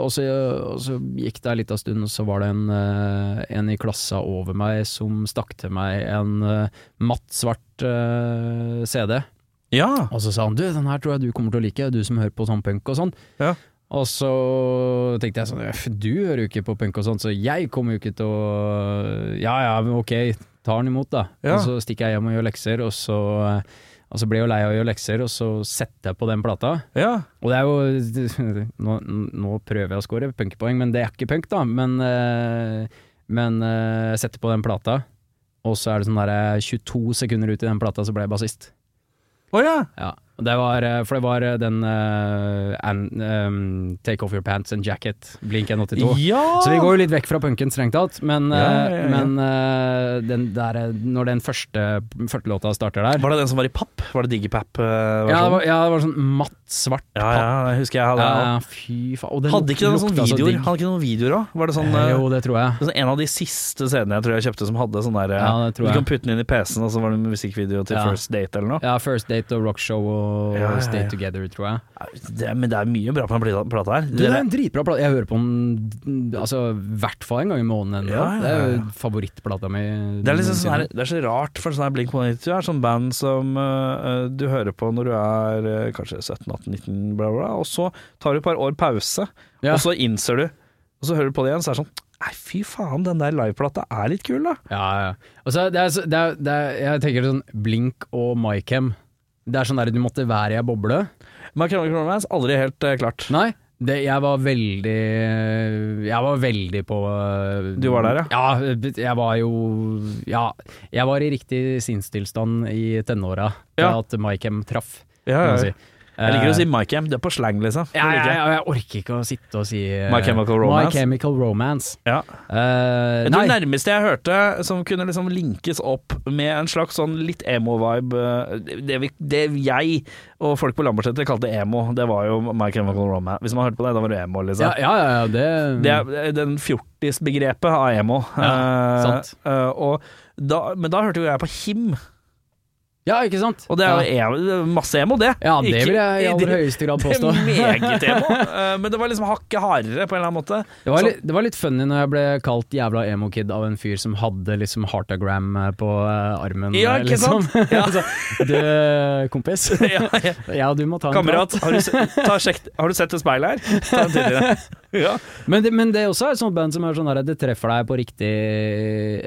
Speaker 2: og så, og så gikk det en liten stund, og så var det en, eh, en i klassa over meg som stakk til meg en eh, matt svart eh, CD.
Speaker 1: Ja.
Speaker 2: Og så sa han du, den her tror jeg du kommer til å like, du som hører på sånn punk og sånn.
Speaker 1: Ja.
Speaker 2: Og så tenkte jeg sånn, «Øff, du hører jo ikke på punk og sånn, så jeg kommer jo ikke til å Ja ja, men ok, tar den imot da.
Speaker 1: Ja.
Speaker 2: Og så stikker jeg hjem og gjør lekser, og så, og så blir jeg jo lei av å gjøre lekser, og så setter jeg på den plata.
Speaker 1: ja.
Speaker 2: Og det er jo Nå, nå prøver jeg å score punkpoeng, men det er ikke punk, da. Men, eh, men eh, jeg setter på den plata, og så er det sånn derre 22 sekunder ut i den plata, så ble jeg bassist.
Speaker 1: Å ja.
Speaker 2: Ja, og det var, eh, for det var eh, den eh, and, ehm, Take Off Your Pants and Jacket, Blink 182.
Speaker 1: ja!
Speaker 2: Så vi går jo litt vekk fra punken, strengt tatt, men, eh,
Speaker 1: Ja, ja, ja.
Speaker 2: men eh, den der, eh, når den første, første låta starter der
Speaker 1: Var det den som var i papp? Var det Digipap-versjonen?
Speaker 2: ja det, var, ja, det var sånn matt svart
Speaker 1: ja, ja, jeg husker jeg hadde den.
Speaker 2: Ja, fy faen. Og den
Speaker 1: Hadde ikke den sånne
Speaker 2: lukta så
Speaker 1: videoer?
Speaker 2: digg.
Speaker 1: Hadde ikke noen videoer òg? Var det sånn
Speaker 2: Eh,
Speaker 1: eh,
Speaker 2: jo, det tror jeg.
Speaker 1: sånn En av de siste CD-ene jeg tror jeg kjøpte som hadde sånn der eh,
Speaker 2: Ja, det tror
Speaker 1: Du
Speaker 2: jeg.
Speaker 1: kan putte den inn i PC-en, og så var det en musikkvideo til
Speaker 2: Ja.
Speaker 1: First Date eller noe.
Speaker 2: Ja, First Date og Rockshow og
Speaker 1: Ja, ja, ja.
Speaker 2: Stay Together, tror jeg.
Speaker 1: Det, er- men det er mye bra på den plata- plata her.
Speaker 2: Du, det er
Speaker 1: Dere-
Speaker 2: en dritbra plate. Jeg hører på den altså, i hvert fall en gang i måneden ennå.
Speaker 1: Ja, ja,
Speaker 2: Det er
Speaker 1: ja.
Speaker 2: jo favorittplata mi.
Speaker 1: det er liksom sånn her,
Speaker 2: noensinne.
Speaker 1: det er så rart, for sånn her Blink 182 er sånn band som eh, du hører på når du er eh, kanskje 17-18-19, bla, bla, bla, og så tar du et par år pause,
Speaker 2: Ja.
Speaker 1: og så innser du, og så hører du på det igjen, så er det sånn Nei, fy faen, den der liveplata er litt kul, da.
Speaker 2: Ja, ja. Og så, er- det er, så- det er, det er, jeg tenker sånn Blink og MyChem. Det er sånn der du måtte være i ei boble.
Speaker 1: Men Krone Kronemans, aldri helt eh, klart.
Speaker 2: Nei, det, jeg var veldig Jeg var veldig på øh,
Speaker 1: Du var der,
Speaker 2: ja? jeg var jo Ja, jeg var i riktig sinnstilstand i tenåra da
Speaker 1: Ja.
Speaker 2: at MyChem traff,
Speaker 1: Ja,
Speaker 2: kan
Speaker 1: ja,
Speaker 2: man
Speaker 1: ja.
Speaker 2: si. Eh,
Speaker 1: Jeg liker å si Mike M, det er på slang, liksom. Det
Speaker 2: Ja,
Speaker 1: liker
Speaker 2: ja,
Speaker 1: jeg.
Speaker 2: ja, jeg orker ikke å sitte og si eh,
Speaker 1: My Chemical Romance.
Speaker 2: My Chemical Romance.
Speaker 1: Ja.
Speaker 2: Eh,
Speaker 1: Jeg tror
Speaker 2: nei,
Speaker 1: det nærmeste jeg hørte som kunne liksom linkes opp med en slags sånn litt emo-vibe eh, det, vi- det jeg og folk på Lambertseter kalte emo, det var jo My Chemical Romance. Hvis man hørte på det, da var du emo,
Speaker 2: ja,
Speaker 1: liksom.
Speaker 2: ja, ja, ja, det,
Speaker 1: Det er eh, den fjortisbegrepet av emo.
Speaker 2: Ja,
Speaker 1: Eh,
Speaker 2: sant.
Speaker 1: eh, og da, men da hørte jo jeg på Him.
Speaker 2: Ja, ikke sant?
Speaker 1: Og det er jo emo, det er masse emo, det.
Speaker 2: Ja, det
Speaker 1: Ikke-
Speaker 2: vil jeg i aller høyeste grad påstå.
Speaker 1: Det er meget emo, eh, men det var liksom hakket hardere på en eller annen måte.
Speaker 2: Det var, litt, det var litt funny når jeg ble kalt jævla emo-kid av en fyr som hadde liksom heartagram eh, på eh, armen.
Speaker 1: Ja,
Speaker 2: eh,
Speaker 1: ikke
Speaker 2: liksom.
Speaker 1: sant? Ja.
Speaker 2: sant? du, eh, kompis.
Speaker 1: Ja, ja.
Speaker 2: Ja, du må ta en
Speaker 1: Kamerat, har du, se, ta, sjekk, har du sett et speil her? Ta en titt i det. Ja.
Speaker 2: prat. Men det, men det er også et sånt band som er sånn her, det treffer deg på riktig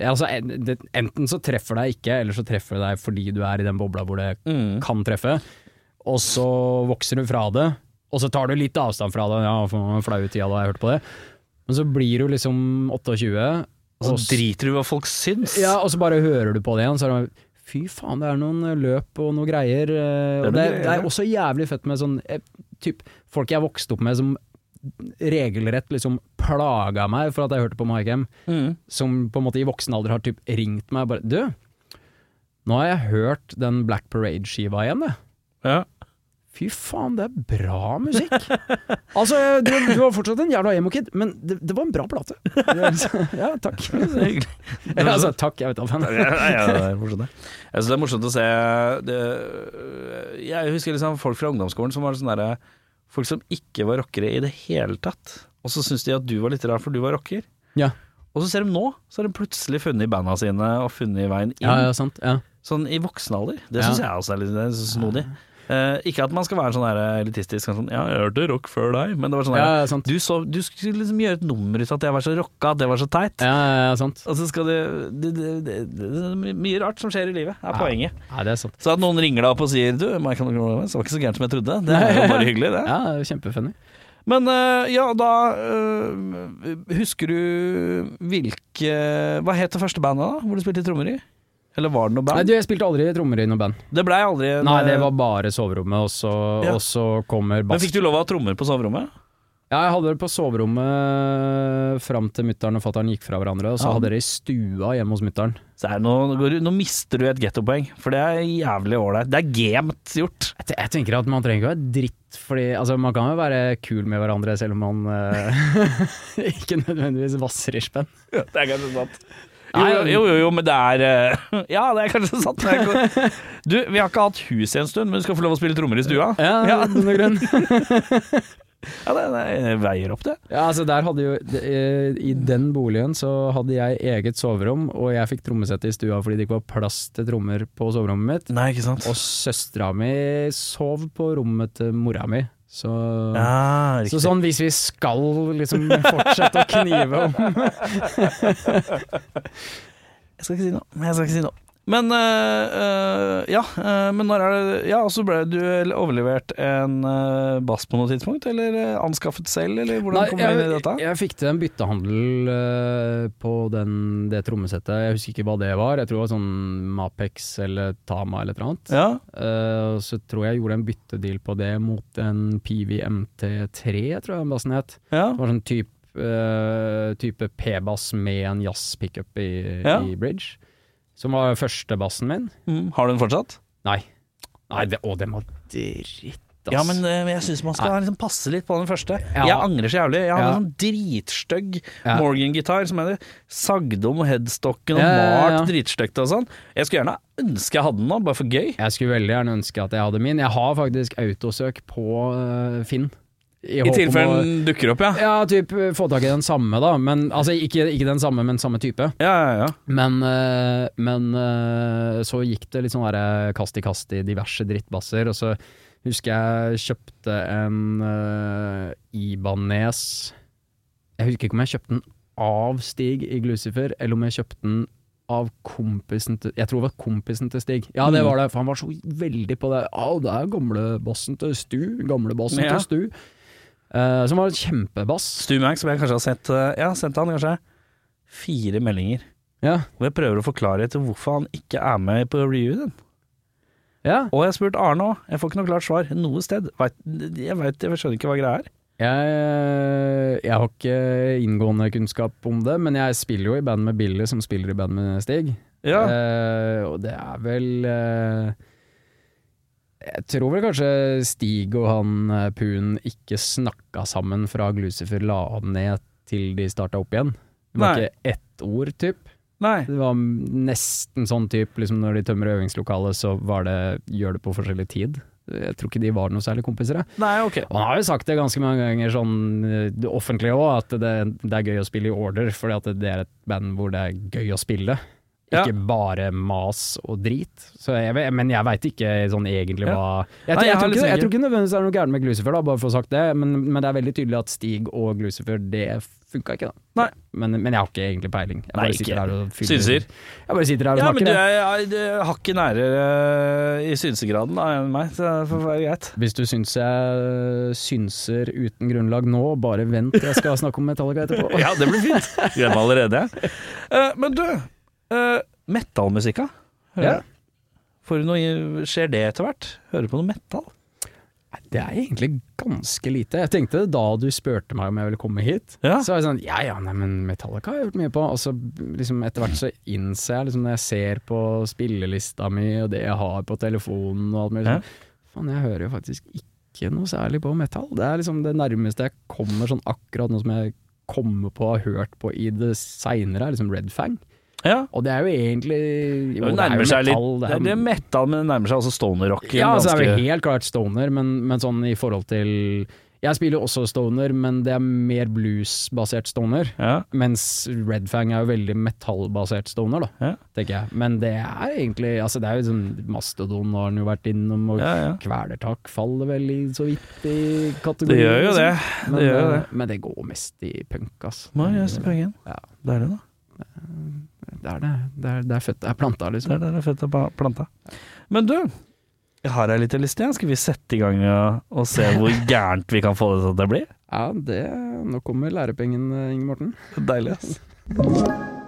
Speaker 2: altså, en- det, Enten så treffer deg ikke, eller så treffer det deg fordi du er i den bobla hvor det
Speaker 1: Mm.
Speaker 2: kan treffe. Og så vokser du fra det, og så tar du litt avstand fra det. Ja, for flaue tida da jeg hørte på det. Men så blir du liksom 28.
Speaker 1: Og
Speaker 2: og
Speaker 1: så driter du i hva folk syns.
Speaker 2: Ja, og så bare hører du på det igjen, så er det bare, Fy faen, det er noen eh, løp og noen greier.
Speaker 1: Det er
Speaker 2: eh, Og
Speaker 1: noen
Speaker 2: det,
Speaker 1: greier,
Speaker 2: det
Speaker 1: ja.
Speaker 2: er også jævlig fett med sånn eh, typ, folk jeg vokste opp med som regelrett liksom plaga meg for at jeg hørte på Maikem,
Speaker 1: Mm.
Speaker 2: som på en måte i voksen alder har typ ringt meg og bare Du, nå har jeg hørt den Black Parade-skiva igjen, det.
Speaker 1: Ja.
Speaker 2: Fy faen, det er bra musikk! altså, du, du var fortsatt en jævla emo-kid, men det, det var en bra plate. ja, takk.
Speaker 1: Så hyggelig.
Speaker 2: Eller, altså, takk, jeg vet da faen.
Speaker 1: Ja, ja, ja, det er morsomt, det. Jeg synes det er morsomt å se det, Jeg husker liksom folk fra ungdomsskolen som var sånn derre Folk som ikke var rockere i det hele tatt. Og så syns de at du var litt rar, for du var rocker.
Speaker 2: Ja.
Speaker 1: Og så ser de nå, så har de plutselig funnet banda sine og funnet veien inn.
Speaker 2: Ja, ja, sant. Ja.
Speaker 1: Sånn i voksen alder. Det
Speaker 2: Ja.
Speaker 1: syns jeg også er litt det er så snodig. Eh, ikke at man skal være sånn der elitistisk sånn, Ja, jeg hørte rock før deg, men det var sånn
Speaker 2: Ja,
Speaker 1: der,
Speaker 2: ja, sant.
Speaker 1: du, så, du skulle liksom gjøre et nummer ut av at jeg var så rocka, at det var så teit.
Speaker 2: Ja, ja, ja, sant.
Speaker 1: Og så skal du det, det, det, det, er Mye rart som skjer i livet, er poenget.
Speaker 2: Ja, det er sant.
Speaker 1: Så at noen ringer deg opp og sier Du, Michael McDonald's, det var ikke så gærent som jeg trodde. Det er jo bare hyggelig, det.
Speaker 2: Ja, det er kjempefunny.
Speaker 1: Men eh, ja, da eh, Husker du hvilke Hva het det første bandet da, hvor du spilte trommer i? Eller var det noe
Speaker 2: Nei,
Speaker 1: band?
Speaker 2: du, jeg spilte aldri trommer i noe band.
Speaker 1: det blei aldri en-
Speaker 2: Nei, det var bare soverommet, og så,
Speaker 1: eh, Ja.
Speaker 2: og så kommer
Speaker 1: Men
Speaker 2: bass.
Speaker 1: fikk du lov av trommer på soverommet?
Speaker 2: Ja, jeg hadde det på soverommet fram til mutter'n og fatter'n gikk fra hverandre, og så
Speaker 1: Ja.
Speaker 2: hadde dere i stua hjemme hos mutter'n.
Speaker 1: Så er det noe, går du- nå mister du et gettopoeng, for det er jævlig ålreit. Det er gamet gjort.
Speaker 2: Jeg, te- jeg tenker at man trenger ikke å være dritt, fordi altså, man kan jo være kul med hverandre selv om man eh, ikke nødvendigvis vasser i spenn.
Speaker 1: Det er kanskje sant. Jo,
Speaker 2: Nei,
Speaker 1: jo, jo, jo, men det er eh, Ja, det er kanskje sant. Det er ikke- Du, vi har ikke hatt hus i en stund, men du skal få lov å spille trommer i stua?
Speaker 2: Ja,
Speaker 1: Ja.
Speaker 2: av noen grunn.
Speaker 1: Ja, det, det veier opp, det.
Speaker 2: Ja, altså der hadde jo de- eh, I den boligen så hadde jeg eget soverom, og jeg fikk trommesett i stua fordi det ikke var plass til trommer på soverommet mitt.
Speaker 1: Nei, ikke sant?
Speaker 2: Og søstera mi sov på rommet til mora mi. Så,
Speaker 1: Ja,
Speaker 2: så
Speaker 1: riktig.
Speaker 2: sånn hvis vi skal liksom fortsette å knive om
Speaker 1: Jeg skal ikke si noe. Jeg skal ikke si noe. Men eh, eh, ja, eh, men når er det Ja, og så ble du overlevert en eh, bass på noe tidspunkt, eller eh, anskaffet selv, eller hvordan kom du inn i
Speaker 2: jeg,
Speaker 1: dette?
Speaker 2: jeg fikk til en byttehandel eh, på den, det trommesettet. Jeg husker ikke hva det var. Jeg tror det var sånn Mapex eller Tama eller et eller annet.
Speaker 1: Ja,
Speaker 2: Eh, og så tror jeg jeg gjorde en byttedeal på det mot en Pivi MT3, tror jeg den bassen het.
Speaker 1: ja.
Speaker 2: Det var sånn typ, eh, type P-bass med en jazz-pickup i,
Speaker 1: Ja.
Speaker 2: i bridge. Som var første bassen min.
Speaker 1: Mm. Har du den fortsatt?
Speaker 2: Nei. Nei det, å, den var dritt, ass.
Speaker 1: Ja, men eh, jeg syns man skal liksom passe litt på den første.
Speaker 2: Ja.
Speaker 1: Jeg angrer så jævlig. Jeg hadde
Speaker 2: Ja.
Speaker 1: en sånn dritstygg
Speaker 2: Ja.
Speaker 1: Morgan-gitar som jeg hadde sagd om headstocken og
Speaker 2: Ja, ja, ja.
Speaker 1: malt dritstygt og sånn. Jeg skulle gjerne ønske jeg hadde den nå, bare for gøy.
Speaker 2: Jeg skulle veldig gjerne ønske at jeg hadde min. Jeg har faktisk autosøk på eh, Finn.
Speaker 1: I
Speaker 2: håp om
Speaker 1: tilfelle
Speaker 2: å-
Speaker 1: den dukker opp, ja.
Speaker 2: Ja, typ få tak i den samme, da. Men, altså ikke, ikke den samme, men samme type.
Speaker 1: Ja, ja, ja.
Speaker 2: Men, eh, men eh, så gikk det litt sånn der eh, kast i kast i diverse drittbasser, og så husker jeg kjøpte en eh, Ibanez Jeg husker ikke om jeg kjøpte den av Stig i Glucifer, eller om jeg kjøpte den av kompisen til Jeg tror det var kompisen til Stig. Ja, det var det, for han var så veldig på det. Å, det er gamlebassen til Stu. Gamlebassen
Speaker 1: Ja.
Speaker 2: til Stu. eh, som var en kjempebass.
Speaker 1: Stu Mac, som jeg kanskje har sett eh, Jeg har sendt han kanskje fire meldinger.
Speaker 2: Ja.
Speaker 1: Og jeg prøver å forklare til hvorfor han ikke er med på reviewen.
Speaker 2: ja.
Speaker 1: Og jeg har spurt Arne òg. Jeg får ikke noe klart svar noe sted. Vet, jeg, vet, jeg skjønner ikke hva greia er.
Speaker 2: Jeg, eh, jeg har ikke inngående kunnskap om det, men jeg spiller jo i band med Billy, som spiller i band med Stig.
Speaker 1: Ja.
Speaker 2: Eh, og det er vel eh, Jeg tror vel kanskje Stig og han eh, Poon ikke snakka sammen fra Glucifer la ned til de starta opp igjen. Det var
Speaker 1: Nei.
Speaker 2: ikke ett ord, typ.
Speaker 1: Nei.
Speaker 2: Det var nesten sånn type liksom Når de tømmer øvingslokalet, så var det, gjør det på forskjellig tid. Jeg tror ikke de var noe særlig kompiser. Jeg.
Speaker 1: Nei, ok.
Speaker 2: Og han har jo sagt det ganske mange ganger sånn eh, det offentlige òg, at det, det er gøy å spille i order, fordi at det er et band hvor det er gøy å spille.
Speaker 1: Ja.
Speaker 2: Ikke bare mas og drit. Så jeg, vet- men jeg veit ikke sånn egentlig
Speaker 1: Ja.
Speaker 2: hva Jeg,
Speaker 1: Nei,
Speaker 2: tror-
Speaker 1: jeg har
Speaker 2: jeg,
Speaker 1: liksom
Speaker 2: tror,
Speaker 1: litt
Speaker 2: ikke, jeg
Speaker 1: sikker.
Speaker 2: tror ikke nødvendigvis det er noe gærent med Glucifer, da, bare for å ha sagt det, men, men det er veldig tydelig at Stig og Glucifer, det funka ikke, da.
Speaker 1: Nei.
Speaker 2: Men, men jeg har ikke egentlig peiling. Jeg
Speaker 1: Nei,
Speaker 2: bare sitter
Speaker 1: ikke.
Speaker 2: her og fyller-
Speaker 1: Synser.
Speaker 2: Jeg bare sitter her og
Speaker 1: Ja, men
Speaker 2: snakker.
Speaker 1: du
Speaker 2: jeg.
Speaker 1: er, er, er hakket nærere eh, i synsegraden da, enn meg, så det får være greit.
Speaker 2: Hvis du syns jeg synser uten grunnlag nå, bare vent, jeg skal snakke om Metallica etterpå.
Speaker 1: Ja, det blir fint. Gleder meg allerede. jeg. Eh, men du, uh, metallmusikka.
Speaker 2: Ja.
Speaker 1: Får du noe, skjer det etter hvert? Hører du på noe metal?
Speaker 2: Det er egentlig ganske lite. Jeg tenkte da du spurte meg om jeg ville komme hit,
Speaker 1: Ja.
Speaker 2: så var jeg sånn ja ja, nei, men Metallica har jeg hørt mye på. Og så liksom, etter hvert så innser jeg, liksom, når jeg ser på spillelista mi og det jeg har på telefonen og alt mulig
Speaker 1: Ja.
Speaker 2: sånn, faen jeg hører jo faktisk ikke noe særlig på metal. Det er liksom det nærmeste jeg kommer sånn akkurat noe som jeg kommer på og har hørt på i det seinere, er liksom Red Fang.
Speaker 1: Ja.
Speaker 2: Og det er jo egentlig jo,
Speaker 1: det
Speaker 2: det er
Speaker 1: nærmer
Speaker 2: jo
Speaker 1: seg litt
Speaker 2: metal.
Speaker 1: Det
Speaker 2: jo-
Speaker 1: er, det er metal, men det nærmer seg også stoner rock.
Speaker 2: ja, altså, det er
Speaker 1: Ganske-
Speaker 2: jo helt klart stoner, men, men sånn i forhold til Jeg spiller jo også stoner, men det er mer blues-basert stoner.
Speaker 1: ja.
Speaker 2: Mens Red Fang er jo veldig metallbasert stoner, da,
Speaker 1: Ja.
Speaker 2: tenker jeg. Men det er egentlig altså Det er jo sånn Mastodon har han jo vært innom, og
Speaker 1: Ja, ja.
Speaker 2: Kvelertak faller vel i så vidt i
Speaker 1: Det
Speaker 2: kategorien.
Speaker 1: gjør jo det.
Speaker 2: Men,
Speaker 1: det gjør jo
Speaker 2: eh,
Speaker 1: det.
Speaker 2: men det går mest i punk, ass.
Speaker 1: Må jeg gjøre pengen.
Speaker 2: Ja.
Speaker 1: Det er det, da.
Speaker 2: Det er det. Det er, det er født, det er planta,
Speaker 1: Det
Speaker 2: liksom.
Speaker 1: er der det er født av pa- planta. Men du, jeg har ei lita liste. jeg. Skal vi sette i gang og, og se hvor gærent vi kan få det til at det blir?
Speaker 2: Ja, det Nå kommer lærepengene, Inge Morten.
Speaker 1: Deilig, ass.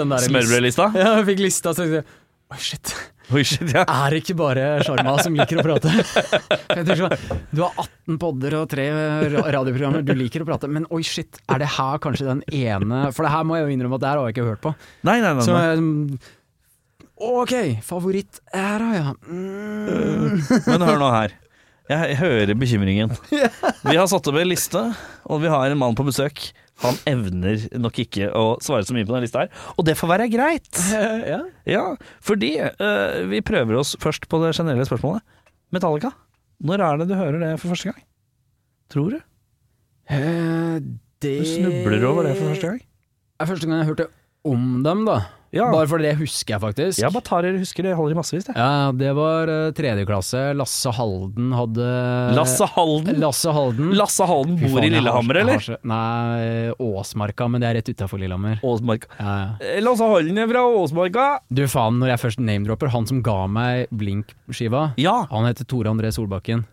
Speaker 2: Den der
Speaker 1: Smørbrødlista?
Speaker 2: Ja, jeg fikk lista, så tenkte jeg Oi, shit.
Speaker 1: Oi, shit, ja.
Speaker 2: Er det ikke bare Sjarma som liker å prate? Jeg tenker sånn, du har 18 podder og 3 radioprogrammer, du liker å prate, men oi, shit, er det her kanskje den ene For det her må jeg jo innrømme at det her har jeg ikke hørt på.
Speaker 1: Nei, nei, nei.
Speaker 2: Så
Speaker 1: nei.
Speaker 2: jeg, OK, favoritt er da, ja. Mm.
Speaker 1: Men hør nå her. Jeg hører bekymringen. Vi har satt opp en liste, og vi har en mann på besøk. Han evner nok ikke å svare så mye på denne lista her, og det får være greit.
Speaker 2: Ja.
Speaker 1: Ja, fordi eh, vi prøver oss først på det generelle spørsmålet. Metallica, når er det du hører det for første gang? Tror du?
Speaker 2: Eh, Det
Speaker 1: Du snubler over det for første gang?
Speaker 2: Det er første gang jeg hørte om dem, da.
Speaker 1: Ja,
Speaker 2: Bare for det husker jeg faktisk.
Speaker 1: jeg bare tar dere husker det, jeg holder i massevis. Jeg.
Speaker 2: Ja, det var eh, tredje klasse. Lasse Halden hadde
Speaker 1: Lasse Halden.
Speaker 2: Lasse Halden.
Speaker 1: Lasse Halden
Speaker 2: Eh, Fy
Speaker 1: bor
Speaker 2: faen,
Speaker 1: i
Speaker 2: jeg har-
Speaker 1: Lillehammer,
Speaker 2: jeg har
Speaker 1: eller?
Speaker 2: så- Nei, Åsmarka, men det er rett utafor Lillehammer.
Speaker 1: Åsmarka.
Speaker 2: Ja, ja.
Speaker 1: Eh, Lasse Halden er fra Åsmarka.
Speaker 2: Du faen, når jeg først name-dropper, han som ga meg Blink-skiva,
Speaker 1: Ja,
Speaker 2: han heter Tore André Solbakken.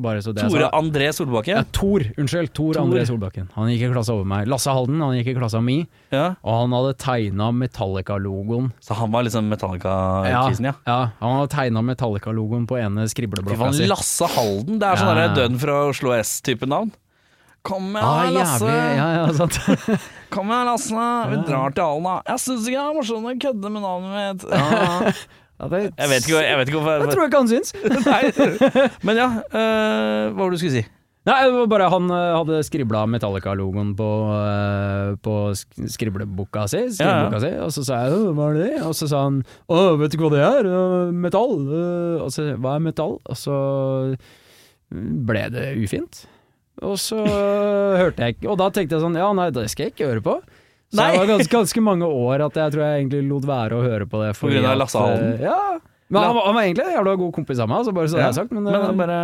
Speaker 2: Bare så det er
Speaker 1: Tore
Speaker 2: sagt.
Speaker 1: André
Speaker 2: ja,
Speaker 1: Solbakken.
Speaker 2: Tor, unnskyld. Tor,
Speaker 1: Tor.
Speaker 2: André Solbakken. Han gikk i klassa over meg. Lasse Halden, han gikk i klassa mi,
Speaker 1: Ja.
Speaker 2: og han hadde tegna Metallica-logoen.
Speaker 1: Så han var liksom Metallica-kisen, ja.
Speaker 2: ja, han hadde tegna Metallica-logoen på
Speaker 1: Fy
Speaker 2: ene
Speaker 1: faen,
Speaker 2: skrivleblokka si.
Speaker 1: Lasse Halden. Det er sånn
Speaker 2: Ja.
Speaker 1: der dønn fra Oslo S-type navn. Kom igjen,
Speaker 2: Ah,
Speaker 1: Lasse.
Speaker 2: jævlig, ja, ja, sant.
Speaker 1: Kom igjen, Lasse. Vi drar til Alna. Jeg syns ikke det er morsomt å kødde med navnet mitt. Ja.
Speaker 2: Ja, det,
Speaker 1: Jeg vet ikke, jeg vet ikke
Speaker 2: Det
Speaker 1: hvorfor
Speaker 2: tror jeg ikke han syns.
Speaker 1: Nei. Men ja, eh, hva var det du skulle si?
Speaker 2: Nei, det var bare han eh, hadde skribla Metallica-logoen på, eh, på sk- skribleboka si, skriveboka si, og så sa jeg «Åh, hva er det? Og så sa han å, vet du ikke hva det er? Øh, Metall. øh», Og så hva er metall? Og så ble det ufint. Og så hørte jeg ikke Og da tenkte jeg sånn ja, nei, det skal jeg ikke høre på. Så
Speaker 1: Nei.
Speaker 2: det var ganske, ganske mange år at jeg tror jeg egentlig lot være å høre på det.
Speaker 1: På grunn av
Speaker 2: fordi at,
Speaker 1: Lasse Halden?
Speaker 2: eh, Ja. Men han, var- han var egentlig en jævla god kompis av meg, altså bare så det er sagt. Men,
Speaker 1: Men
Speaker 2: eh,
Speaker 1: han bare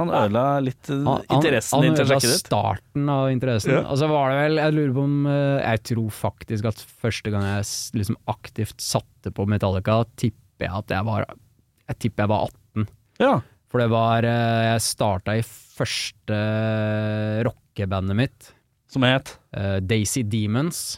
Speaker 1: Han ødela litt eh,
Speaker 2: han- han-
Speaker 1: interessen din til å
Speaker 2: ødela
Speaker 1: sjekke det ut.
Speaker 2: starten av interessen.
Speaker 1: Ja.
Speaker 2: Og så var det vel, jeg lurer på om eh, Jeg tror faktisk at første gang jeg s- liksom aktivt satte på Metallica, tipper jeg at jeg var Jeg tipper jeg var 18.
Speaker 1: Ja.
Speaker 2: For det var eh, Jeg starta i første eh, rockebandet mitt.
Speaker 1: som het
Speaker 2: Eh, Daisy Demons.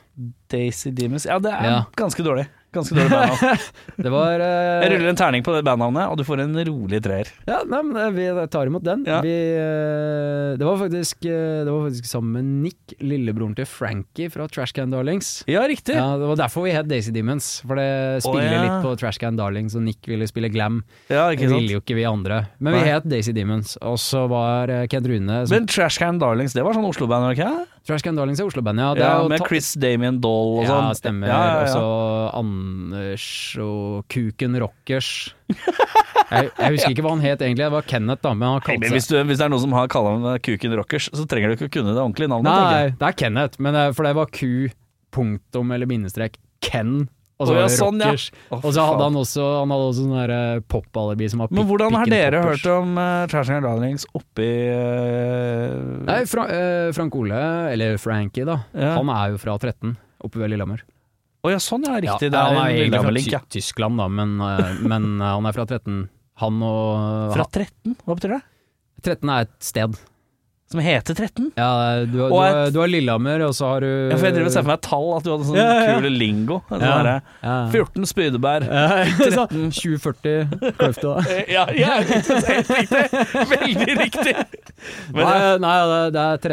Speaker 1: Daisy Demons. Ja, det er
Speaker 2: Ja.
Speaker 1: ganske dårlig. Ganske dårlig bandnavn.
Speaker 2: Det var eh,
Speaker 1: Jeg ruller en terning på det bandnavnet, og du får en rolig treer.
Speaker 2: Ja, nei, men eh, vi tar imot den.
Speaker 1: Ja.
Speaker 2: Vi, eh, det, var faktisk, eh, det var faktisk sammen med Nick, lillebroren til Frankie fra Trashcan Darlings.
Speaker 1: Ja, riktig.
Speaker 2: Ja, det var derfor vi het Daisy Demons, for det spiller
Speaker 1: ja.
Speaker 2: litt på Trashcan Darlings, og Nick ville spille glam.
Speaker 1: Ja,
Speaker 2: Det
Speaker 1: ikke sant.
Speaker 2: ville jo ikke vi andre. Men vi
Speaker 1: Nei.
Speaker 2: het Daisy Demons, og så var eh, Kent Rune som
Speaker 1: Men Trashcan Darlings, det var sånn Oslo-band, var det ikke?
Speaker 2: Trashcan Darlings er Oslo-bandet, ja. Det
Speaker 1: Ja,
Speaker 2: er jo
Speaker 1: med
Speaker 2: ta-
Speaker 1: Chris Damien Dahl og
Speaker 2: ja,
Speaker 1: sånn.
Speaker 2: stemmer.
Speaker 1: Ja, ja, ja.
Speaker 2: Også Anders og Kuken Rockers. Jeg, jeg husker ikke hva han het egentlig, det var Kenneth, da, men han
Speaker 1: Nei,
Speaker 2: kalte
Speaker 1: men
Speaker 2: seg
Speaker 1: hvis, du, hvis det er noen som har kallenavnet Kuken Rockers, så trenger du ikke å kunne det ordentlige navnet. tenker jeg.
Speaker 2: Nei, det er Kenneth, men det, er- for det var Q, punktum eller bindestrek, Ken. Og så
Speaker 1: Å,
Speaker 2: var
Speaker 1: ja,
Speaker 2: det
Speaker 1: sånn, ja.
Speaker 2: rockers.
Speaker 1: Å, fy
Speaker 2: Og så hadde
Speaker 1: faen.
Speaker 2: han også, han hadde også sånn der, eh, pop-alibi som var
Speaker 1: Men
Speaker 2: pik-
Speaker 1: hvordan har
Speaker 2: pikken
Speaker 1: dere
Speaker 2: poppers.
Speaker 1: hørt om uh, Trashcan Darlings oppi eh,
Speaker 2: Nei, Fra, eh, Frank Ole, eller Frankie, da.
Speaker 1: Ja.
Speaker 2: Han er jo fra 13, oppe ved Lillehammer.
Speaker 1: Å ja, sånn ja, riktig.
Speaker 2: Ja,
Speaker 1: det er en
Speaker 2: han egentlig fra
Speaker 1: Lillehammer-link, ja.
Speaker 2: Ty- Tyskland, da, men, eh, men eh, han er fra 13. Han og
Speaker 1: Fra 13? Hva betyr det?
Speaker 2: 13 er et sted.
Speaker 1: Som heter 13?
Speaker 2: Ja, eh, du, har- du,
Speaker 1: Og et-
Speaker 2: har- du har Lillehammer, og så har du
Speaker 1: Ja, for jeg driver og ser for meg et tall, at du hadde sånn
Speaker 2: Ja, ja, ja.
Speaker 1: kule lingo. Sånn
Speaker 2: Ja.
Speaker 1: derre,
Speaker 2: Ja.
Speaker 1: 14 spydebær.
Speaker 2: Ja, så 2040 Kløfta.
Speaker 1: Ja, ja, helt riktig! Veldig riktig! Men,
Speaker 2: nei,
Speaker 1: ja,
Speaker 2: eh, nei det, det er 13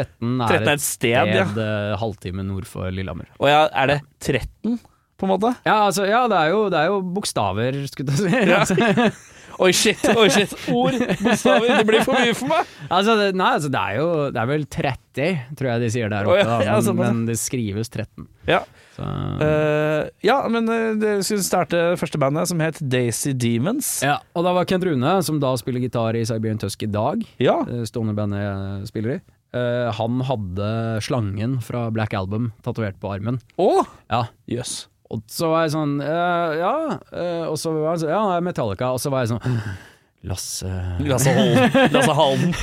Speaker 1: 13
Speaker 2: er
Speaker 1: er
Speaker 2: et
Speaker 1: et sted, ja.
Speaker 2: sted eh, halvtime nord for Lillehammer.
Speaker 1: Og ja, er det 13, på en måte?
Speaker 2: Ja, altså, ja det, er jo, det er jo bokstaver, skulle jeg si. Altså,
Speaker 1: Oi, shit! oi shit Ord, bokstaver, det blir for mye for meg!
Speaker 2: altså, det, nei, altså, det er jo Det er vel 30, tror jeg de sier der
Speaker 1: Å,
Speaker 2: oppe,
Speaker 1: ja,
Speaker 2: da,
Speaker 1: ja,
Speaker 2: men,
Speaker 1: såpass, ja.
Speaker 2: men det skrives 13.
Speaker 1: Ja,
Speaker 2: Så,
Speaker 1: eh, ja men eh, dere skulle starte første bandet, som het Daisy Demons.
Speaker 2: ja, og da var Kent Rune, som da spiller gitar i Siberian Tusk i dag,
Speaker 1: Ja,
Speaker 2: eh, stående bandet jeg spiller i, eh, han hadde slangen fra Black Album tatovert på armen.
Speaker 1: Å!
Speaker 2: Ja,
Speaker 1: Jøss.
Speaker 2: Og så var jeg sånn «Eh, Ja, eh, og så var han sånn Ja, det er Metallica. Og så var jeg sånn Lasse
Speaker 1: Lasse Holden. Lasse Halden.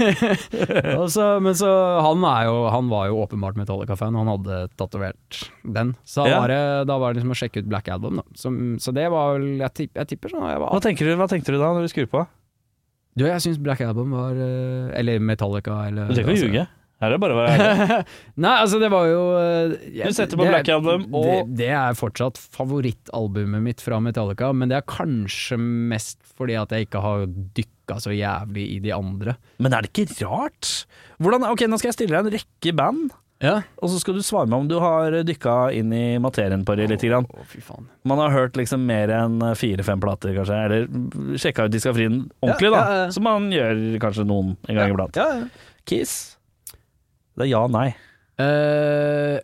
Speaker 2: og så, Men så han, er jo, han var jo åpenbart Metallica-fan, han hadde tatovert den. Så da,
Speaker 1: Ja.
Speaker 2: var det, da var det liksom å sjekke ut Black Album, da. Så, så det var vel Jeg, tipp, jeg tipper sånn jeg
Speaker 1: Hva
Speaker 2: var,
Speaker 1: tenker du, hva tenkte du da, når du skrur på?
Speaker 2: Du, jeg syns Black Album var eh, Eller Metallica, eller
Speaker 1: Du trenger ikke å
Speaker 2: altså-
Speaker 1: ljuge. Her er det bare å være ærlig.
Speaker 2: Nei, altså det var jo eh, jeg-
Speaker 1: Du setter på Black Album, og-
Speaker 2: det, det er fortsatt favorittalbumet mitt fra Metallica, men det er kanskje mest fordi at jeg ikke har dykka så jævlig i de andre.
Speaker 1: Men er det ikke rart? Hvordan, ok, Nå skal jeg stille deg en rekke band,
Speaker 2: Ja.
Speaker 1: og så skal du svare meg om du har dykka inn i materien på det litt. Grann.
Speaker 2: Å, fy faen.
Speaker 1: Man har hørt liksom mer enn fire-fem plater, kanskje, eller sjekka ut diskafrien ordentlig, da.
Speaker 2: Ja, ja, ja.
Speaker 1: Som man gjør kanskje noen en gang iblant. Kiss? Det er ja, nei.
Speaker 2: Eh,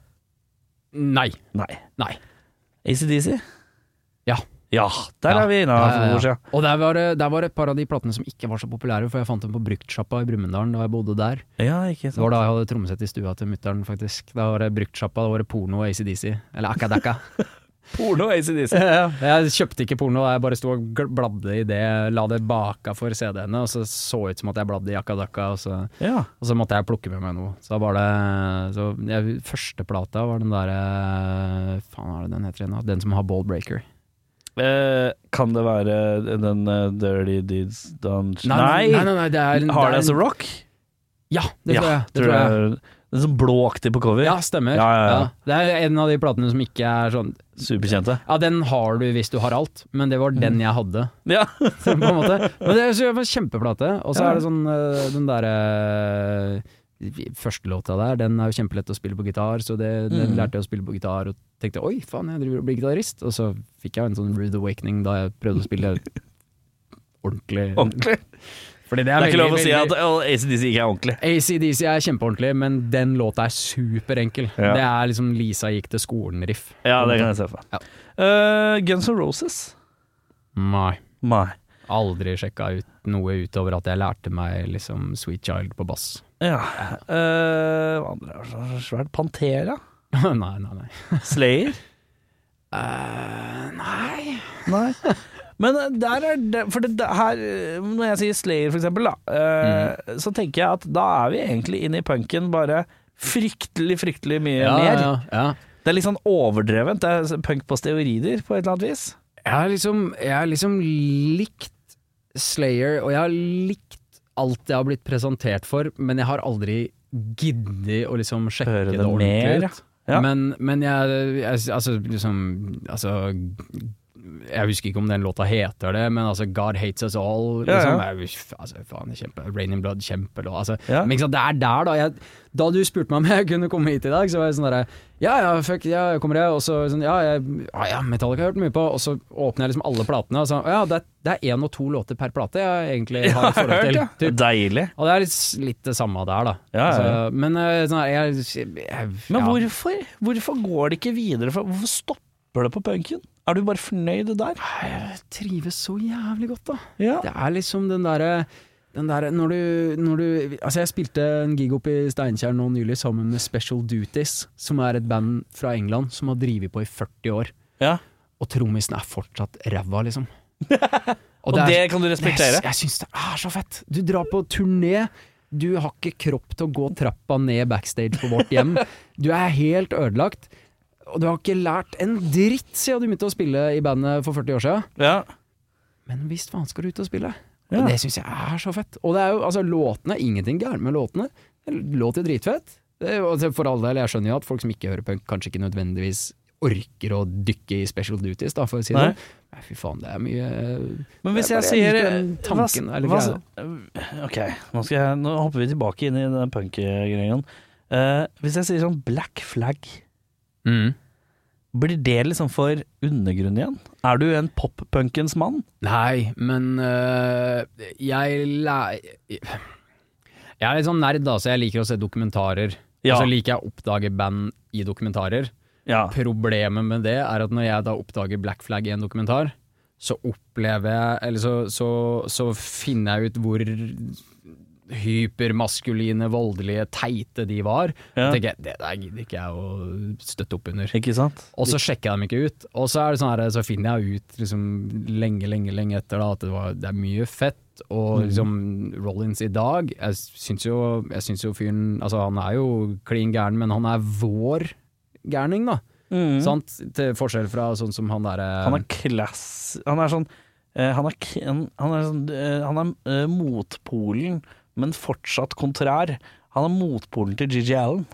Speaker 2: nei.
Speaker 1: Nei.
Speaker 2: Nei.
Speaker 1: ACDC?
Speaker 2: Ja.
Speaker 1: Ja, der
Speaker 2: Ja.
Speaker 1: er vi
Speaker 2: Ja, ja,
Speaker 1: innafor.
Speaker 2: ja.
Speaker 1: Ja,
Speaker 2: Og der var, det, der var et par av de platene som ikke var så populære, for jeg fant dem på bruktsjappa i Brumunddal da jeg bodde der.
Speaker 1: ikke
Speaker 2: Det
Speaker 1: sant.
Speaker 2: var da jeg hadde trommesett i stua til mutter'n, faktisk. Da var det bruktsjappa, da var det porno og ACDC. Eller Akadaka.
Speaker 1: Porno ACDC.
Speaker 2: Jeg kjøpte ikke porno, jeg bare sto og gl- bladde i det, la det baka for CD-ene, og så så ut som at jeg bladde i jakadakka, og, så-
Speaker 1: Ja.
Speaker 2: og så måtte jeg plukke med meg noe. Så da var det så jeg, Første plata var den derre Faen, hva er det den heter igjen? da? Den som har Ballbreaker.
Speaker 1: Eh, kan det være den eh, Dirty Deeds Done
Speaker 2: nei, nei, nei det er det
Speaker 1: Hard
Speaker 2: er-
Speaker 1: As A Rock?
Speaker 2: Ja, det tror jeg. Det tror
Speaker 1: jeg.
Speaker 2: jeg.
Speaker 1: Den som blåaktig på cover.
Speaker 2: Ja, stemmer.
Speaker 1: Ja, ja, ja.
Speaker 2: Det er en av de platene som ikke er sånn
Speaker 1: Superkjente.
Speaker 2: Ja, den har du hvis du har alt, men det var den jeg hadde.
Speaker 1: Ja.
Speaker 2: på en måte. Men det er så- det var en kjempeplate. Og så
Speaker 1: Ja.
Speaker 2: er det sånn øh, den derre Første låta der, den er jo kjempelett å spille på gitar, så det, den
Speaker 1: Mm.
Speaker 2: lærte jeg å spille på gitar og tenkte oi, faen, jeg driver og blir gitarist. Og så fikk jeg en sånn rude awakening da jeg prøvde å spille ordentlig.
Speaker 1: Ordentlig.
Speaker 2: Fordi det
Speaker 1: Det
Speaker 2: er,
Speaker 1: er ikke lov å si at
Speaker 2: veldig-
Speaker 1: oh, ACDC ikke er ordentlig.
Speaker 2: ACDC er kjempeordentlig, men den låta er superenkel.
Speaker 1: Ja.
Speaker 2: Det er liksom Lisa gikk til skolen-riff.
Speaker 1: Ja, det kan jeg se for meg.
Speaker 2: Mm. Ja.
Speaker 1: Eh, Guns N' Roses?
Speaker 2: Nei.
Speaker 1: Nei.
Speaker 2: Aldri sjekka ut noe utover at jeg lærte meg liksom Sweet Child på bass.
Speaker 1: Ja. Eh, hva andre er det så svært? Pantera?
Speaker 2: nei, nei, nei.
Speaker 1: Slayer?
Speaker 2: Eh, nei.
Speaker 1: Nei. Men eh, der er det For det, det her eh, Når jeg sier Slayer, for eksempel, da, eh,
Speaker 2: Mm.
Speaker 1: så tenker jeg at da er vi egentlig inne i punken bare fryktelig, fryktelig mye
Speaker 2: Ja,
Speaker 1: mer.
Speaker 2: ja, ja.
Speaker 1: Det er litt sånn overdrevent. Det er punk på steorider, på et eller annet vis.
Speaker 2: Jeg har liksom, jeg har liksom likt Slayer, og jeg har likt alt jeg har blitt presentert for, men jeg har aldri giddet å liksom sjekke
Speaker 1: Høre
Speaker 2: det
Speaker 1: det mer, ja.
Speaker 2: ordentlig ut.
Speaker 1: Ja.
Speaker 2: Men, men jeg, jeg Altså, liksom Altså jeg husker ikke om den låta heter det, men altså God Hates Us All
Speaker 1: Ja,
Speaker 2: liksom,
Speaker 1: ja.
Speaker 2: Jeg, altså, faen, kjempe, Rain in Blood, kjempelåt. Altså,
Speaker 1: Ja.
Speaker 2: Men ikke sant, det er der, da. Jeg, da du spurte meg om jeg kunne komme hit i dag, så var jeg sånn derre Ja ja, fuck, ja, jeg kommer jeg. Og så sånn ja, jeg, ja, ja, Metallica har jeg hørt mye på. Og så åpner jeg liksom alle platene, og så ja, det er, det er én og to låter per plate jeg egentlig har et forhold til.
Speaker 1: Det er
Speaker 2: typ.
Speaker 1: Deilig.
Speaker 2: Og det er litt, litt det samme der, da.
Speaker 1: Ja, ja, ja.
Speaker 2: Altså, men eh, sånn her, jeg, jeg
Speaker 1: Men
Speaker 2: ja.
Speaker 1: hvorfor, hvorfor går det ikke videre? For- Hvorfor stopper det på punken? Er du bare fornøyd der?
Speaker 2: Jeg trives så jævlig godt, da.
Speaker 1: Ja.
Speaker 2: Det er liksom den derre den der, når, du, når du Altså, jeg spilte en gig oppe i Steinkjer nå nylig sammen med Special Duties, som er et band fra England som har drevet på i 40 år.
Speaker 1: Ja.
Speaker 2: Og trommisen er fortsatt ræva, liksom. Og
Speaker 1: Og
Speaker 2: er-
Speaker 1: det kan du respektere.
Speaker 2: Jeg, jeg syns det er så fett! Du drar på turné. Du har ikke kropp til å gå trappa ned backstage på vårt hjem. Du er helt ødelagt. Og du har ikke lært en dritt siden du begynte å spille i bandet for 40 år siden.
Speaker 1: Ja.
Speaker 2: Men visst faen skal du ut og spille.
Speaker 1: Ja.
Speaker 2: Og det syns jeg er så fett. Og det er jo, altså, låtene, ingenting gærent med låtene. Det låter jo dritfett. Det, er jo- altså, for all del, jeg skjønner jo at folk som ikke hører punk, kanskje ikke nødvendigvis orker å dykke i special duties, da, for å si
Speaker 1: Nei.
Speaker 2: det. Nei, fy faen, det er mye
Speaker 1: Men hvis
Speaker 2: Jeg
Speaker 1: jeg,
Speaker 2: bare
Speaker 1: sier
Speaker 2: liker den tanken, eller
Speaker 1: Ok, nå, skal jeg, nå hopper vi tilbake inn i den punk-greien. Eh, hvis jeg sier sånn black flag, Mm. blir det liksom for undergrunn igjen? Er du en pop-punkens mann?
Speaker 2: Nei, men øh, jeg læ- Jeg er litt sånn nerd, da, så jeg liker å se dokumentarer.
Speaker 1: Ja.
Speaker 2: Og så liker jeg å oppdage band i dokumentarer.
Speaker 1: Ja.
Speaker 2: Problemet med det er at når jeg da oppdager Black Flag i en dokumentar, så opplever jeg Eller så, så, så finner jeg ut hvor hypermaskuline, voldelige, teite de var.
Speaker 1: Ja.
Speaker 2: Og tenker jeg, det der gidder ikke jeg å støtte opp under.
Speaker 1: Ikke sant?
Speaker 2: Og så sjekker jeg dem ikke ut. Og så, er det sånn her, så finner jeg ut liksom, lenge, lenge lenge etter da, at det, var, det er mye fett.
Speaker 1: Mm.
Speaker 2: Og liksom, Rollins i dag Jeg syns jo, jeg syns jo fyren altså, Han er jo klin gæren, men han er vår gærning, da. Sant? Til forskjell fra sånn som han derre
Speaker 1: Mm. Han er klass... Han er sånn eh, han er, k- en- han er, sånn, eh, han er eh, motpolen, men fortsatt kontrær. Han er motpolen til Gigi Allen.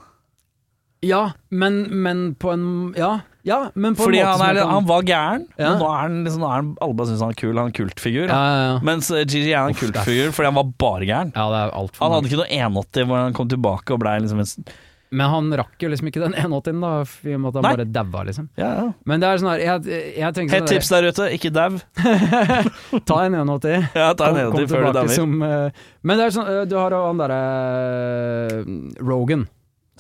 Speaker 2: Ja, men, men på en Ja, ja men på
Speaker 1: Fordi
Speaker 2: en
Speaker 1: han,
Speaker 2: måte som
Speaker 1: er, liksom,
Speaker 2: jeg kan-
Speaker 1: han var gæren,
Speaker 2: Ja.
Speaker 1: men nå er han liksom, nå er han, alle bare syns han er kul. Han er en kultfigur.
Speaker 2: ja, ja, ja.
Speaker 1: Mens eh, Gigi er en
Speaker 2: Uff, det er- Mm.
Speaker 1: kultfigur fordi han var bare gæren.
Speaker 2: ja, det er altfor
Speaker 1: Han
Speaker 2: mange.
Speaker 1: hadde ikke noe 180 hvor han kom tilbake og blei liksom en s-
Speaker 2: Men han rakk jo liksom ikke den 180-en, da, i og med at han
Speaker 1: Nei.
Speaker 2: bare daua, liksom.
Speaker 1: ja, ja.
Speaker 2: Men det er sånn her jeg, jeg tenker sånn
Speaker 1: Hett
Speaker 2: her-
Speaker 1: tips der ute, ikke dau.
Speaker 2: Ta en 180.
Speaker 1: Ja, ta en
Speaker 2: Kom- kom
Speaker 1: 180 før du
Speaker 2: tilbake
Speaker 1: dauer.
Speaker 2: som, eh, men det er sånn, eh, du har jo han derre Rogan.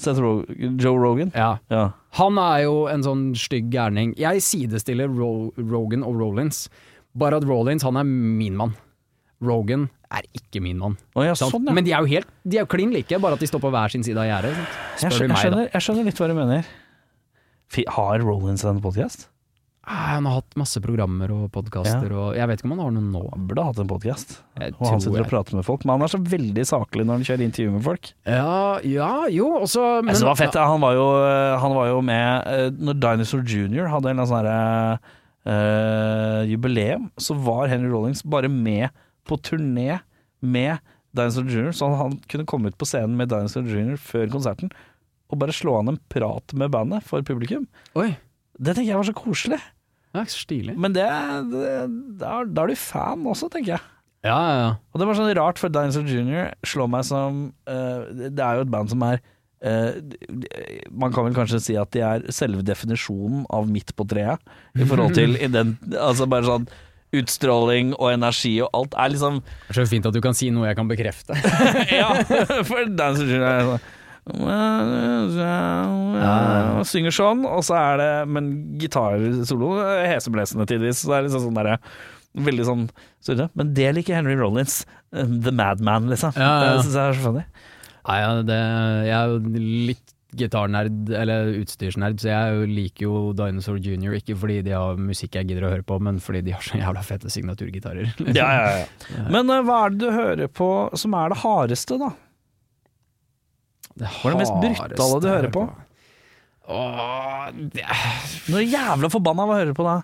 Speaker 1: Seth Rog Joe Rogan.
Speaker 2: Ja.
Speaker 1: Ja.
Speaker 2: Han er jo en sånn stygg gærning. Jeg sidestiller Ro Rogan og Rollins. Bare at Rollins, han er min mann. Rogan er ikke min mann.
Speaker 1: Å, ja,
Speaker 2: Sant?
Speaker 1: sånn, ja.
Speaker 2: Men de er jo helt De er jo klin like, bare at de står på hver sin side av gjerdet. sant?
Speaker 1: Jeg,
Speaker 2: spør du
Speaker 1: skjø- jeg,
Speaker 2: meg, da.
Speaker 1: skjønner, jeg skjønner litt hva du mener. Fy, har Rollins en podkast?
Speaker 2: Ah, Han har hatt masse programmer og podkaster og Jeg vet ikke om han har noe nå.
Speaker 1: Han burde hatt en podkast.
Speaker 2: Jeg
Speaker 1: Og han
Speaker 2: tror
Speaker 1: sitter og
Speaker 2: jeg-
Speaker 1: prater med folk, men han er så veldig saklig når han kjører intervju med folk.
Speaker 2: Ja, ja, jo, også
Speaker 1: Jeg
Speaker 2: men-
Speaker 1: synes det var fett, han var jo, han var jo med eh, Når Dinosaur Junior hadde en eller annen sånn her, eh, jubileum, så var Henry Rollings bare med på turné med Dinosaur Junior, så han, han kunne komme ut på scenen med Dinosaur Junior før konserten og bare slå an en prat med bandet for publikum.
Speaker 2: Oi,
Speaker 1: Det tenker jeg var så koselig.
Speaker 2: ja, stilig.
Speaker 1: Men det, det, da, er- da er du fan også, tenker jeg.
Speaker 2: Ja, ja, ja.
Speaker 1: Og det var sånn rart, for Dinosaur Junior slår meg som eh, Det er jo et band som er eh, Man kan vel kanskje si at de er selve definisjonen av midt på treet, i forhold til i den, altså bare sånn utstråling og energi og alt er liksom
Speaker 2: Det er så fint at du kan si noe jeg kan bekrefte.
Speaker 1: Ja, for Dinosaur Junior er sånn og synger sånn, og så er det Men gitarsolo er heseblesende tidvis. Så det er liksom sånn derre Veldig sånn surrete. Men det liker Henry Rollins. The Madman, liksom.
Speaker 2: Ja, ja, ja.
Speaker 1: Det syns jeg er så funny.
Speaker 2: Nei, ja, det, jeg er jo litt gitarnerd, eller utstyrsnerd, så jeg jo liker jo Dinosaur Junior, ikke fordi de har musikk jeg gidder å høre på, men fordi de har så jævla fete signaturgitarer.
Speaker 1: Ja, ja, ja. Men eh, hva er det du hører på som er det hardeste, da? Hva er det mest brutale du
Speaker 2: hardeste jeg
Speaker 1: hører på?
Speaker 2: Åh, det er-
Speaker 1: Når du er jævla forbanna, hva hører du på da?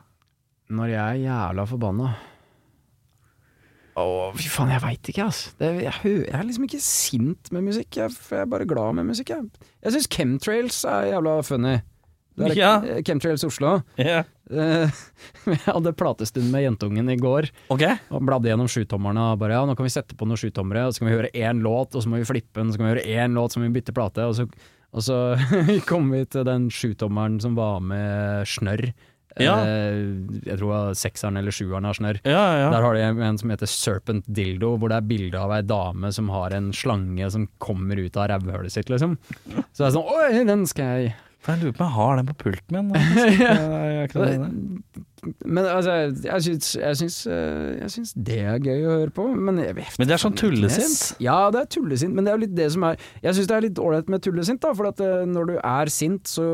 Speaker 2: Når jeg er jævla forbanna. Åh, fy faen, jeg veit ikke, ass. Det, jeg, hø- jeg er liksom ikke sint med musikk, jeg, f- jeg er bare glad med musikk, jeg. Jeg syns chemtrails er jævla funny. Det er
Speaker 1: Ja.
Speaker 2: eh, Chemtrails Oslo.
Speaker 1: Ja.
Speaker 2: Eh, Jeg hadde platestund med jentungen i går,
Speaker 1: Ok.
Speaker 2: og bladde gjennom sjutommerne og bare ja, nå kan vi sette på noen sjutommere, og så kan vi høre én låt, og så må vi flippe den, så kan vi høre én låt, så må vi bytte plate, og så, og så kom vi til den sjutommeren som var med snørr.
Speaker 1: Ja.
Speaker 2: Eh, Jeg tror det var sekseren eller sjueren av snørr.
Speaker 1: Ja, ja.
Speaker 2: Der har de en som heter Serpent Dildo, hvor det er bilde av ei dame som har en slange som kommer ut av rævhølet sitt, liksom. Så det er sånn Oi, den skal jeg
Speaker 1: For Jeg lurer på om jeg har den på pulten min. faktisk.
Speaker 2: Ja.
Speaker 1: Jeg er ikke noe med det.
Speaker 2: Men altså, jeg syns, jeg, syns, eh, jeg syns det er gøy å høre på, men jeg vet
Speaker 1: Men det er sånn
Speaker 2: faen ikke.
Speaker 1: tullesint.
Speaker 2: Ja, det er tullesint, men det er jo litt det som er Jeg syns det er litt ålreit med tullesint, da, for at eh, når du er sint, så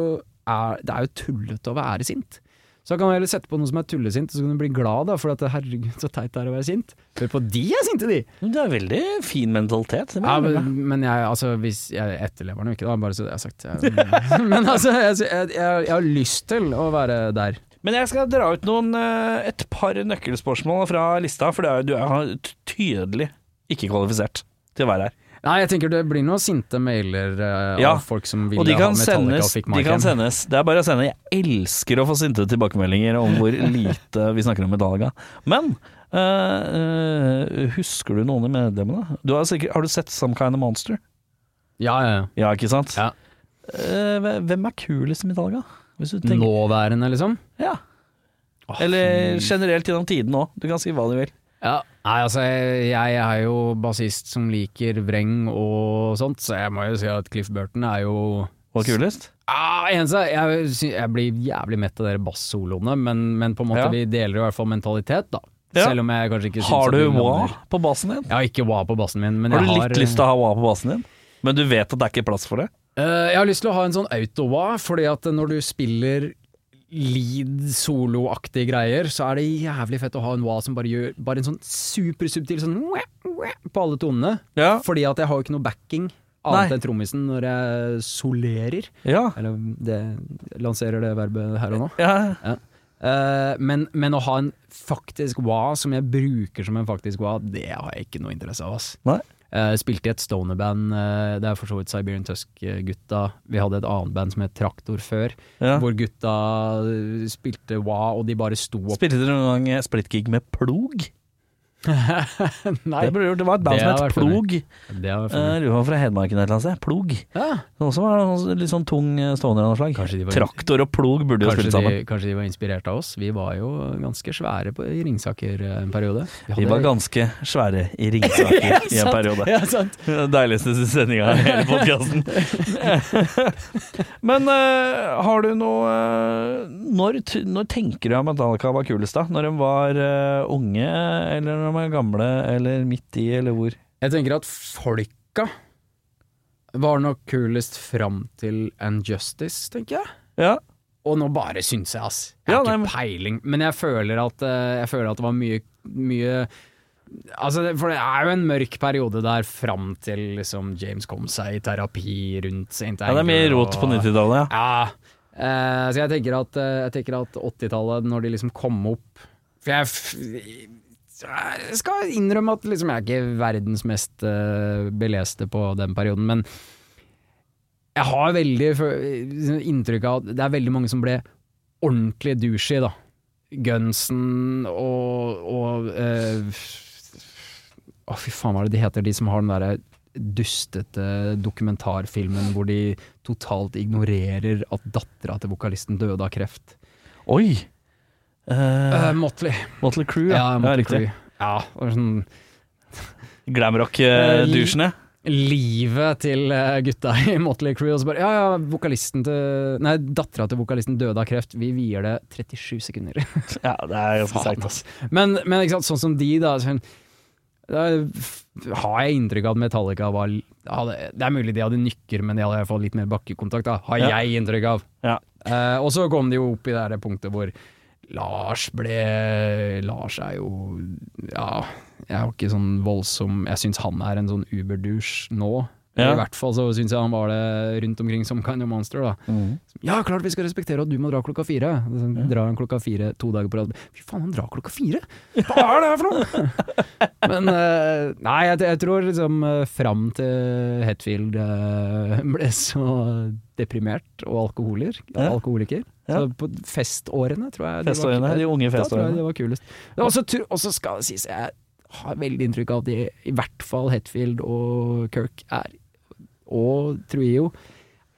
Speaker 2: er det er jo tullete å være sint. Så da kan du heller sette på noe som er tullesint, og så kan du bli glad, da, for at eh, herregud, så teit det er å være sint. Hør på, de er sinte, de!
Speaker 1: Men Det er veldig fin mentalitet. Det må
Speaker 2: Ja,
Speaker 1: jeg
Speaker 2: men,
Speaker 1: innrømme.
Speaker 2: men jeg, altså, hvis jeg etterlever den jo ikke, da, bare så det er sagt. Jeg, men altså, jeg, jeg, jeg, jeg har lyst til å være der.
Speaker 1: Men jeg skal dra ut noen, eh, et par nøkkelspørsmål fra lista, for det er, du er t- tydelig ikke kvalifisert til å være her.
Speaker 2: Nei, jeg tenker det blir noen sinte mailer eh,
Speaker 1: Ja,
Speaker 2: av folk som vil
Speaker 1: Og de
Speaker 2: ha
Speaker 1: kan,
Speaker 2: Metallica
Speaker 1: sendes,
Speaker 2: og fikk
Speaker 1: de kan
Speaker 2: Markham.
Speaker 1: sendes. Det er bare å sende. Jeg elsker å få sinte tilbakemeldinger om hvor lite vi snakker om Metallica. Men eh, eh, husker du noen i medlemmene? Du har, sikkert, har du sett Some Kind of Monster?
Speaker 2: Ja, ja, ja.
Speaker 1: Ja, ikke sant?
Speaker 2: Ja.
Speaker 1: Eh, hvem er kulest i Metallica? Hvis du tenker
Speaker 2: Nåværende, liksom.
Speaker 1: Ja. Eller generelt gjennom tiden òg. Du kan si hva du vil.
Speaker 2: Ja. Nei, altså, jeg, jeg er jo bassist som liker vreng og sånt, så jeg må jo si at Cliff Burton er jo
Speaker 1: Hva er kulest?
Speaker 2: ah, eneste, jeg, sy- jeg blir jævlig mett av dere bassoloene, men, men på en måte
Speaker 1: Ja.
Speaker 2: vi deler i hvert fall mentalitet, da.
Speaker 1: Ja.
Speaker 2: Selv om jeg kanskje ikke syns at
Speaker 1: Har du
Speaker 2: vi
Speaker 1: Wa
Speaker 2: lander-
Speaker 1: på basen din?
Speaker 2: Jeg har ikke wa på bassen min, men
Speaker 1: Har du
Speaker 2: jeg
Speaker 1: litt
Speaker 2: har
Speaker 1: lyst til å ha Wa på basen din? Men du vet at det er ikke plass for det?
Speaker 2: Eh, jeg har lyst til å ha en sånn autowa, fordi at når du spiller lead-soloaktige greier, så er det jævlig fett å ha en wa som bare gjør bare en sånn supersubtil sånn wah, wah, på alle tonene.
Speaker 1: Ja.
Speaker 2: Fordi at jeg har jo ikke noe backing
Speaker 1: Nei.
Speaker 2: annet enn trommisen når jeg solerer.
Speaker 1: Ja.
Speaker 2: Eller det lanserer det verbet her og nå.
Speaker 1: ja.
Speaker 2: Eh, men, men å ha en faktisk wa som jeg bruker som en faktisk wa, det har jeg ikke noe interesse av, ass.
Speaker 1: Nei.
Speaker 2: Eh, spilte i et stonerband, eh, det er for så vidt Siberian Tusk-gutta. Vi hadde et annet band som het Traktor før,
Speaker 1: ja.
Speaker 2: hvor gutta eh, spilte wa, og de bare sto opp.
Speaker 1: Spilte dere noen gang eh, splitgig med plog?
Speaker 2: Nei,
Speaker 1: Det, ble, gjort. det var et band
Speaker 2: Det
Speaker 1: som
Speaker 2: har
Speaker 1: het
Speaker 2: vært for meg.
Speaker 1: Plog.
Speaker 2: det var
Speaker 1: Eh,
Speaker 2: for meg.
Speaker 1: Lurer på om fra Hedmarken eller et eller annet sted. Plog.
Speaker 2: ja,
Speaker 1: Som også var noe sånn- litt sånn tung eh, stående av noe slag.
Speaker 2: Kanskje de var-
Speaker 1: Traktor og plog burde jo
Speaker 2: kanskje,
Speaker 1: spille
Speaker 2: de,
Speaker 1: sammen.
Speaker 2: kanskje de var inspirert av oss. Vi var jo ganske svære på, i Ringsaker eh, en periode.
Speaker 1: De var ganske svære i Ringsaker i en periode.
Speaker 2: Ja, sant.
Speaker 1: Den Deiligste sendinga i hele podkasten. Men eh, har du noe eh, når, t- når tenker du at Metallica var kulest, da? Når de var eh, unge, eller når de var gamle, eller midt i, eller hvor?
Speaker 2: Jeg tenker at folka var nok kulest fram til Unjustice, tenker jeg.
Speaker 1: Ja,
Speaker 2: Og nå bare syns jeg, ass. Jeg
Speaker 1: Ja,
Speaker 2: har
Speaker 1: nei,
Speaker 2: ikke
Speaker 1: men-
Speaker 2: peiling. Men jeg føler at, eh, jeg føler at det var mye, mye Altså, det- for det er jo en mørk periode der fram til liksom James kom seg i terapi rundt St.
Speaker 1: ja det er mye rot på 90-tallet, ja.
Speaker 2: Ja. Eh, så jeg tenker at, eh, jeg tenker at 80-tallet, når de liksom kom opp For jeg, f- jeg skal innrømme at liksom, jeg er ikke verdens mest eh, beleste på den perioden, men jeg har veldig fø- liksom inntrykk av at det er veldig mange som ble ordentlig douchey, da. Gunsen og, og eh, Å, fy faen, hva er det de heter, de som har den derre dustete dokumentarfilmen hvor de totalt ignorerer at dattera til vokalisten døde av kreft.
Speaker 1: Oi! Uh,
Speaker 2: Motley.
Speaker 1: Motley Crew, ja.
Speaker 2: Eh, Ja,
Speaker 1: ja,
Speaker 2: Motley
Speaker 1: riktig.
Speaker 2: Crue. Ja, og sånn
Speaker 1: eh,
Speaker 2: Eh,
Speaker 1: Glamrock-dusjene.
Speaker 2: livet til eh, gutta i Motley Crew, og så bare ja, ja, vokalisten til Nei, dattera til vokalisten døde av kreft, vi vier det 37 sekunder.
Speaker 1: Ja, det er ganske
Speaker 2: Faen,
Speaker 1: seigt.
Speaker 2: ass. Men, men ikke sant, sånn som de, da. Sånn, da har jeg inntrykk av at Metallica var ja, det, det er mulig de hadde nykker, men de hadde i hvert fall litt mer bakkekontakt, da. Har
Speaker 1: Ja.
Speaker 2: jeg inntrykk av.
Speaker 1: Ja.
Speaker 2: Eh, og så kom de jo opp i det her punktet hvor Lars ble Lars er jo Ja, jeg er jo ikke sånn voldsom Jeg syns han er en sånn uberdusj nå.
Speaker 1: Ja.
Speaker 2: I hvert fall så syns jeg han var det rundt omkring som Kind of Monster. da Ja, klart vi skal respektere at du må dra klokka fire. Og Så drar han klokka fire to dager på rad. Fy faen, han drar klokka fire! Hva er det her for noe?! Men eh, nei, jeg, jeg tror liksom eh, fram til Hetfield eh, ble så deprimert og alkoholer,
Speaker 1: Ja.
Speaker 2: alkoholiker.
Speaker 1: Ja.
Speaker 2: Så på festårene, tror jeg. de var-
Speaker 1: Festårene, de unge
Speaker 2: Da tror jeg
Speaker 1: festårene.
Speaker 2: det var kulest. Men også tr- Og så skal det sies, jeg har veldig inntrykk av at de, i hvert fall Hetfield og Kirk er, og Trujillo,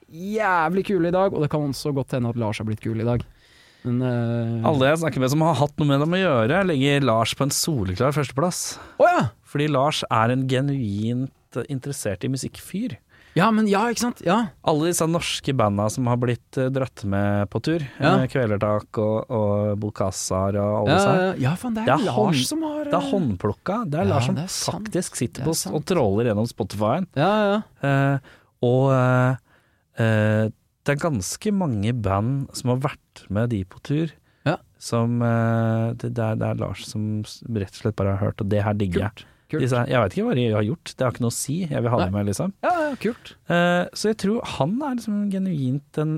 Speaker 2: jævlig kule i dag, og det kan også godt hende at Lars har blitt kul i dag. Men eh,
Speaker 1: Alle jeg snakker med som har hatt noe med dem å gjøre, legger Lars på en soleklar førsteplass.
Speaker 2: Å ja!
Speaker 1: Fordi Lars er en genuint interessert i musikkfyr.
Speaker 2: Ja, men ja, ikke sant? Ja.
Speaker 1: Alle disse norske banda som har blitt eh, dratt med på tur.
Speaker 2: Ja.
Speaker 1: eh, Kvelertak og, og Bokazar og alle
Speaker 2: Ja,
Speaker 1: disse her.
Speaker 2: Eh, ja, ja, faen, det er,
Speaker 1: Det er
Speaker 2: Lars
Speaker 1: hånd-
Speaker 2: som har
Speaker 1: Det er
Speaker 2: eh,
Speaker 1: håndplukka. Det er
Speaker 2: Ja,
Speaker 1: Lars som
Speaker 2: det er sant.
Speaker 1: faktisk sitter
Speaker 2: Det
Speaker 1: på
Speaker 2: er
Speaker 1: s-
Speaker 2: sant.
Speaker 1: og tråler gjennom Spotify-en.
Speaker 2: Ja, ja.
Speaker 1: Eh, og eh, eh, det er ganske mange band som har vært med de på tur,
Speaker 2: Ja.
Speaker 1: som eh, det, det, er, det er Lars som s- rett og slett bare har hørt, og det her digger jeg.
Speaker 2: kult.
Speaker 1: Disse, her- jeg veit ikke hva de har gjort, det har ikke noe å si. Jeg vil ha det med, liksom.
Speaker 2: Ja, ja, kult.
Speaker 1: Eh, så jeg tror han er liksom genuint den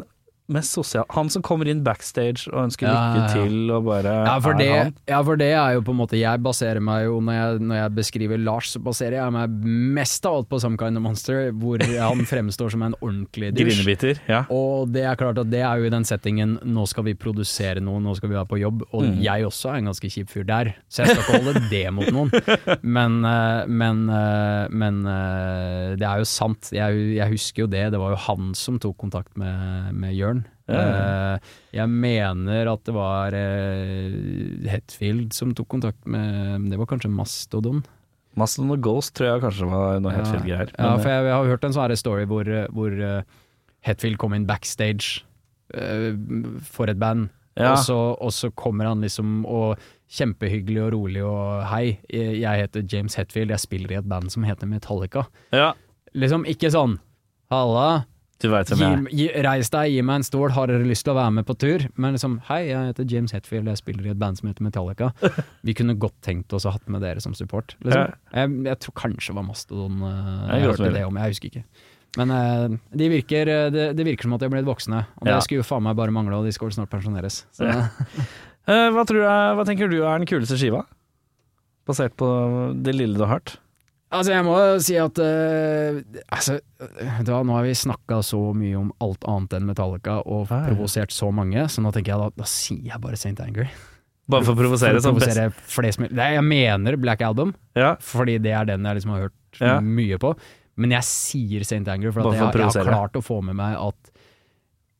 Speaker 1: mest sosial Han som kommer inn backstage og ønsker
Speaker 2: Ja,
Speaker 1: lykke
Speaker 2: ja, ja.
Speaker 1: til og bare
Speaker 2: Ja for,
Speaker 1: er
Speaker 2: det,
Speaker 1: han.
Speaker 2: ja, for det er jo på en måte Jeg baserer meg jo Når jeg, når jeg beskriver Lars, så baserer jeg meg mest av alt på Some Kind of Monster, hvor han fremstår som en ordentlig dusj.
Speaker 1: Grinebiter. Ja.
Speaker 2: Og det er klart at det er jo i den settingen Nå skal vi produsere noe, nå skal vi være på jobb. Og jeg også er en ganske kjip fyr der, så jeg skal ikke holde det mot noen. Men, eh, men, eh, men eh, det er jo sant. Jeg, jeg husker jo det. Det var jo han som tok kontakt med, med Jørn. Eh, Jeg mener at det var eh, Hetfield som tok kontakt med Det var kanskje Mastodon.
Speaker 1: Mastodon og Ghost tror jeg kanskje var noe helt
Speaker 2: Ja.
Speaker 1: feil greier.
Speaker 2: Ja,
Speaker 1: Men, eh,
Speaker 2: for jeg, jeg har hørt en sånn her story hvor, eh, hvor eh, Hetfield kom inn backstage eh, for et band,
Speaker 1: Ja.
Speaker 2: og, så, og så kommer han liksom og kjempehyggelig og rolig og hei, jeg heter James Hetfield, jeg spiller i et band som heter Metallica.
Speaker 1: eh, ja.
Speaker 2: Liksom ikke sånn halla,
Speaker 1: Du veit hvem
Speaker 2: gi,
Speaker 1: jeg er.
Speaker 2: gi, reis deg, gi meg en stol, har dere lyst til å være med på tur? Men liksom hei, jeg heter James Hetfield, jeg spiller i et band som heter Metallica. Vi kunne godt tenkt oss å hatt med dere som support. Liksom. Jeg, jeg tror kanskje det var Mastodon eh,
Speaker 1: Jeg
Speaker 2: jeg
Speaker 1: kan
Speaker 2: hørte
Speaker 1: spille.
Speaker 2: det om, jeg husker ikke. Men eh, de virker, eh, det, det virker som at de har blitt voksne, og det
Speaker 1: Ja.
Speaker 2: skulle jo faen meg bare mangle, og de skal vel snart pensjoneres. Så,
Speaker 1: Eh, hva, tror jeg, hva tenker du er den kuleste skiva? Basert på det lille du har hørt?
Speaker 2: Altså, jeg må si at eh, altså, vet du hva, Nå har vi snakka så mye om alt annet enn Metallica, og
Speaker 1: Ja, ja.
Speaker 2: provosert så mange, så nå tenker jeg da, da sier jeg bare St. Anger.
Speaker 1: Bare for å
Speaker 2: For
Speaker 1: provosere.
Speaker 2: å
Speaker 1: som sånn best.
Speaker 2: provosere flest mulig. Nei, jeg mener Black Album,
Speaker 1: Ja.
Speaker 2: fordi det er den jeg liksom har hørt
Speaker 1: Ja.
Speaker 2: mye på. Men jeg sier St. Anger, for
Speaker 1: Bare for å
Speaker 2: at jeg, jeg har
Speaker 1: provosere.
Speaker 2: klart å få med meg at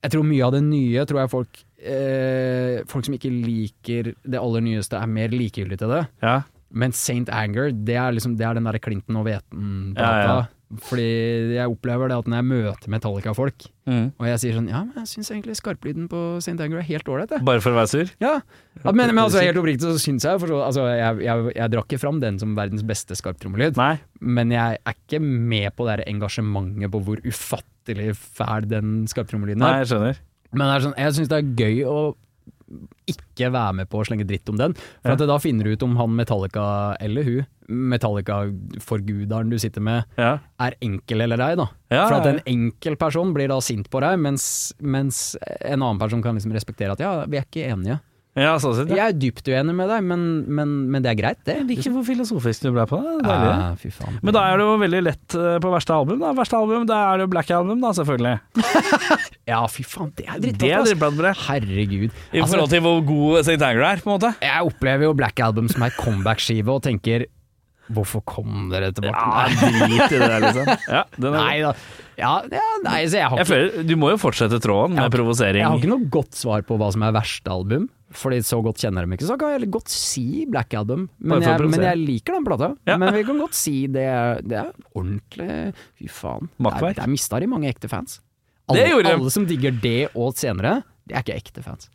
Speaker 2: Jeg tror mye av det nye tror jeg folk eh, Folk som ikke liker det aller nyeste, er mer likegyldige til det.
Speaker 1: Ja.
Speaker 2: Men St. Anger, det er, liksom, det er den derre Clinton og Veten-plata.
Speaker 1: Ja, ja.
Speaker 2: Fordi jeg opplever det at når jeg møter Metallica-folk,
Speaker 1: Mm.
Speaker 2: og jeg sier sånn Ja, men jeg syns egentlig skarplyden på St. Anger er helt ålreit, jeg.
Speaker 1: Bare for å være sur?
Speaker 2: Ja. Ja, men, men altså, helt oppriktig så syns jeg, for så, altså, jeg, jeg, jeg drakk ikke fram den som verdens beste skarptrommelyd,
Speaker 1: Nei.
Speaker 2: men jeg er ikke med på det her engasjementet på hvor ufattelig fæl den skarptrommelyden
Speaker 1: Nei,
Speaker 2: er.
Speaker 1: jeg skjønner.
Speaker 2: Men det er sånn, jeg syns det er gøy å ikke være med på å slenge dritt om den, for at da finner du ut om han Metallica, eller hun, Metallica-forguderen du sitter med,
Speaker 1: Ja.
Speaker 2: er enkel eller ei, da.
Speaker 1: Ja,
Speaker 2: For at
Speaker 1: ja, ja.
Speaker 2: en enkel person blir da sint på deg, mens, mens en annen person kan liksom respektere at ja, vi er ikke enige.
Speaker 1: ja, sånn sett. Ja.
Speaker 2: Jeg er dypt uenig med deg, men, men, men det er greit, det.
Speaker 1: Jeg liker hvor filosofisk du ble på det. det. er Deilig.
Speaker 2: Ja, fy faen.
Speaker 1: Men da er det jo veldig lett eh, på verste album. Da. Verste album, da er det jo Black Album, da, selvfølgelig.
Speaker 2: Ja, ffy faen, det er
Speaker 1: Det er
Speaker 2: drittbra.
Speaker 1: drittbladbra.
Speaker 2: Herregud.
Speaker 1: I
Speaker 2: Altså,
Speaker 1: forhold til hvor god St. Anger er, på en måte.
Speaker 2: jeg opplever jo Black Album som ei comeback-skive og tenker Hvorfor kom dere tilbake?
Speaker 1: drit i det der, liksom. Ja, den er
Speaker 2: Nei da. Ja, ja, nei, så jeg har,
Speaker 1: Jeg
Speaker 2: ikke,
Speaker 1: føler, du må jo fortsette tråden med provosering.
Speaker 2: jeg har ikke noe godt svar på hva som er verste album, Fordi så godt kjenner de ikke. Så kan jeg heller godt si Black Album, men
Speaker 1: Bare for å
Speaker 2: jeg, men
Speaker 1: provosere.
Speaker 2: jeg liker den plata.
Speaker 1: Ja.
Speaker 2: Men vi kan godt si det er, det er ordentlig Fy faen.
Speaker 1: Makkverk.
Speaker 2: Der, der mista de mange ekte fans.
Speaker 1: Det
Speaker 2: Alle,
Speaker 1: gjorde de.
Speaker 2: alle som digger det og senere, de er ikke ekte fans.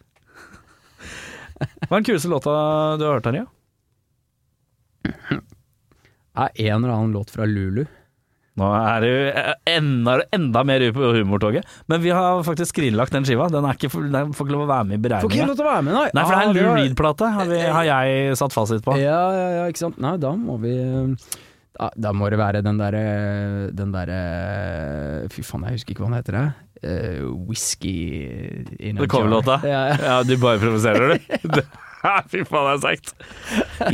Speaker 1: Hva er den kuleste låta du har hørt, Terje?
Speaker 2: Det er en eller annen låt fra Lulu.
Speaker 1: Nå er du enda, enda mer ute på humortoget. Men vi har faktisk skrinlagt den skiva. Den, er ikke, for- den får ikke lov å være med i beregninga.
Speaker 2: til å være med,
Speaker 1: Nei, for det er en Lou
Speaker 2: Ah, var-
Speaker 1: Reed-plate, har, vi- har jeg satt fasit på.
Speaker 2: Ja, ja, ja, ikke sant. Nei, da må vi eh, Da, da må det være den derre Den derre Fy faen, jeg husker ikke hva den heter. jeg. Eh, whisky in a
Speaker 3: Det kommer
Speaker 2: jar.
Speaker 3: låta.
Speaker 2: Ja, ja.
Speaker 3: Ja, du bare provoserer, du. Det- Fy faen, det er seigt.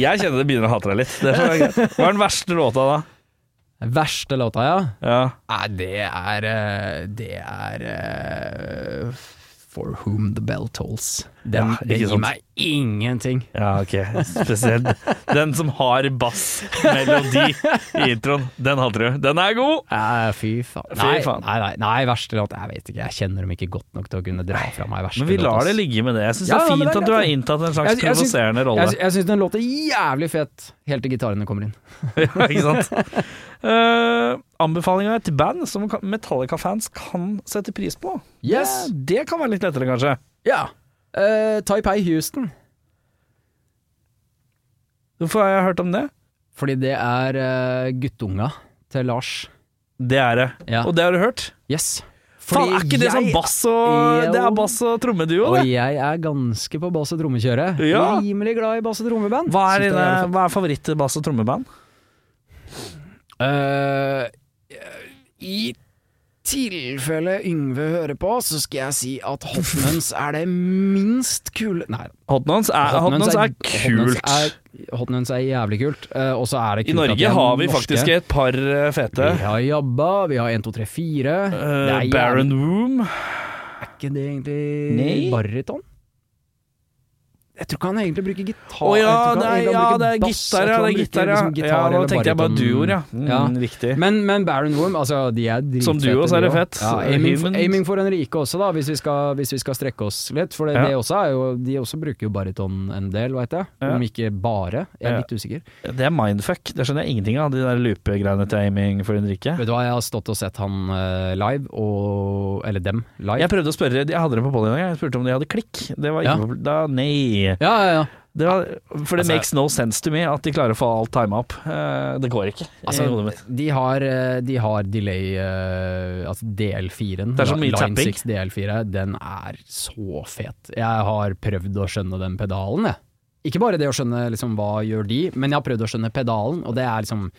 Speaker 1: Jeg kjenner det begynner å hate deg litt. Det er så greit. Hva er den verste låta, da?
Speaker 2: Verste låta, ja.
Speaker 1: Ja.
Speaker 2: Nei, det er eh, Det er eh, For whom the bell tolls. Den,
Speaker 1: Ja, ikke
Speaker 2: det gir
Speaker 1: sant.
Speaker 2: meg ingenting.
Speaker 1: ja, ok. Spesielt den som har bassmelodi i introen. Den hater du. Den er god!
Speaker 2: Eh, fy faen.
Speaker 1: Fy
Speaker 2: Nei,
Speaker 1: faen.
Speaker 2: nei, nei, nei, verste låt Jeg vet ikke, jeg kjenner dem ikke godt nok til å kunne dra fra meg verste
Speaker 1: Men vi
Speaker 2: låt,
Speaker 1: lar
Speaker 2: ass.
Speaker 1: det ligge med det. Jeg syns
Speaker 2: Ja,
Speaker 1: det
Speaker 2: ja,
Speaker 1: er
Speaker 2: men
Speaker 1: fint
Speaker 2: det er
Speaker 1: at du
Speaker 2: greit,
Speaker 1: har inntatt en slags
Speaker 2: Jeg- jeg syns-
Speaker 1: provoserende rolle.
Speaker 2: Jeg, sy- jeg syns den låter jævlig fet, helt til gitarene kommer inn.
Speaker 1: Ja, ikke sant? Uh, Anbefalinga til band som kan- Metallica-fans kan sette pris på.
Speaker 2: Yes!
Speaker 1: Eh, Det kan være litt lettere, kanskje.
Speaker 2: Ja! Eh, Taipei Houston.
Speaker 1: Hvorfor har jeg hørt om det?
Speaker 2: Fordi det er eh, guttunga til Lars.
Speaker 1: Det er det.
Speaker 2: Ja.
Speaker 1: Og det har du hørt?
Speaker 2: Yes.
Speaker 1: Faen, er ikke det sånn bass og,
Speaker 2: Jo.
Speaker 1: det er bass og trommeduo,
Speaker 2: Og
Speaker 1: det?
Speaker 2: jeg er ganske på bass- og trommekjøret.
Speaker 1: Ja.
Speaker 2: Rimelig glad i bass- og trommeband.
Speaker 1: Hva er,
Speaker 2: Synes det
Speaker 1: dine-
Speaker 2: jævlig fett.
Speaker 1: hva er favoritt-bass- og trommeband?
Speaker 2: Eh, I tilfelle Yngve hører på, så skal jeg si at Hotmans er det minst kule Nei,
Speaker 1: Hotnons er, Hot Nuns er kult.
Speaker 2: Hotnuns er jævlig kult. eh, og så er det
Speaker 1: I
Speaker 2: kult at
Speaker 1: Norge
Speaker 2: de er
Speaker 1: har vi
Speaker 2: norske.
Speaker 1: faktisk et par eh, fete.
Speaker 2: Vi har Jabba, vi har 1, 2, 3, 4. det
Speaker 1: Eh,
Speaker 2: er
Speaker 1: Baron
Speaker 2: jævlig-
Speaker 1: Room.
Speaker 2: Er ikke det egentlig
Speaker 1: Nei.
Speaker 2: baryton? Jeg tror ikke han egentlig bruker gitar.
Speaker 1: Å ja,
Speaker 2: jeg tror
Speaker 1: det er,
Speaker 2: ikke han egentlig
Speaker 1: ja,
Speaker 2: han
Speaker 1: det er
Speaker 2: bruker bass, jeg
Speaker 1: gitar, ja. Det er
Speaker 2: tror han bruker
Speaker 1: gitar, ja.
Speaker 2: liksom gitar
Speaker 1: ja nå
Speaker 2: eller
Speaker 1: tenkte jeg bare
Speaker 2: baryton.
Speaker 1: duoer, ja.
Speaker 2: Ja.
Speaker 1: Mm, riktig.
Speaker 2: Men, men Baron Worm, altså, de er dritfete.
Speaker 1: Som duo så er
Speaker 2: de
Speaker 1: det
Speaker 2: også.
Speaker 1: fett.
Speaker 2: Ja, aiming, for,
Speaker 1: Human.
Speaker 2: aiming for Henrike også, da, hvis vi skal, hvis vi skal strekke oss litt. For det,
Speaker 1: Ja.
Speaker 2: det også er jo, de også bruker jo baryton en del, veit jeg.
Speaker 1: Ja.
Speaker 2: Om ikke bare. Jeg
Speaker 1: Ja.
Speaker 2: er litt usikker.
Speaker 1: Det er mindfuck. Det skjønner jeg ingenting av, de der loopegreiene til aiming for Henrike.
Speaker 2: Vet du hva, jeg har stått og sett han eh, live, og Eller dem live.
Speaker 1: Jeg prøvde å spørre, jeg hadde dem på podien en gang, jeg spurte om de hadde klikk. Det var ikke
Speaker 2: Ja.
Speaker 1: på, da, Nei.
Speaker 2: Ja, ja, ja.
Speaker 1: Det var, for det
Speaker 2: Altså-
Speaker 1: makes no sense to me at de klarer å få alt tima opp. Eh, det går ikke. i
Speaker 2: Altså,
Speaker 1: hodet mitt.
Speaker 2: de har, eh, de har delay eh, Altså DL4-en.
Speaker 1: Det er så mye
Speaker 2: Line
Speaker 1: tapping.
Speaker 2: 6 DL4, den er så fet. Jeg har prøvd å skjønne den pedalen, jeg. Ikke bare det å skjønne liksom, hva gjør de, men jeg har prøvd å skjønne pedalen, og det er liksom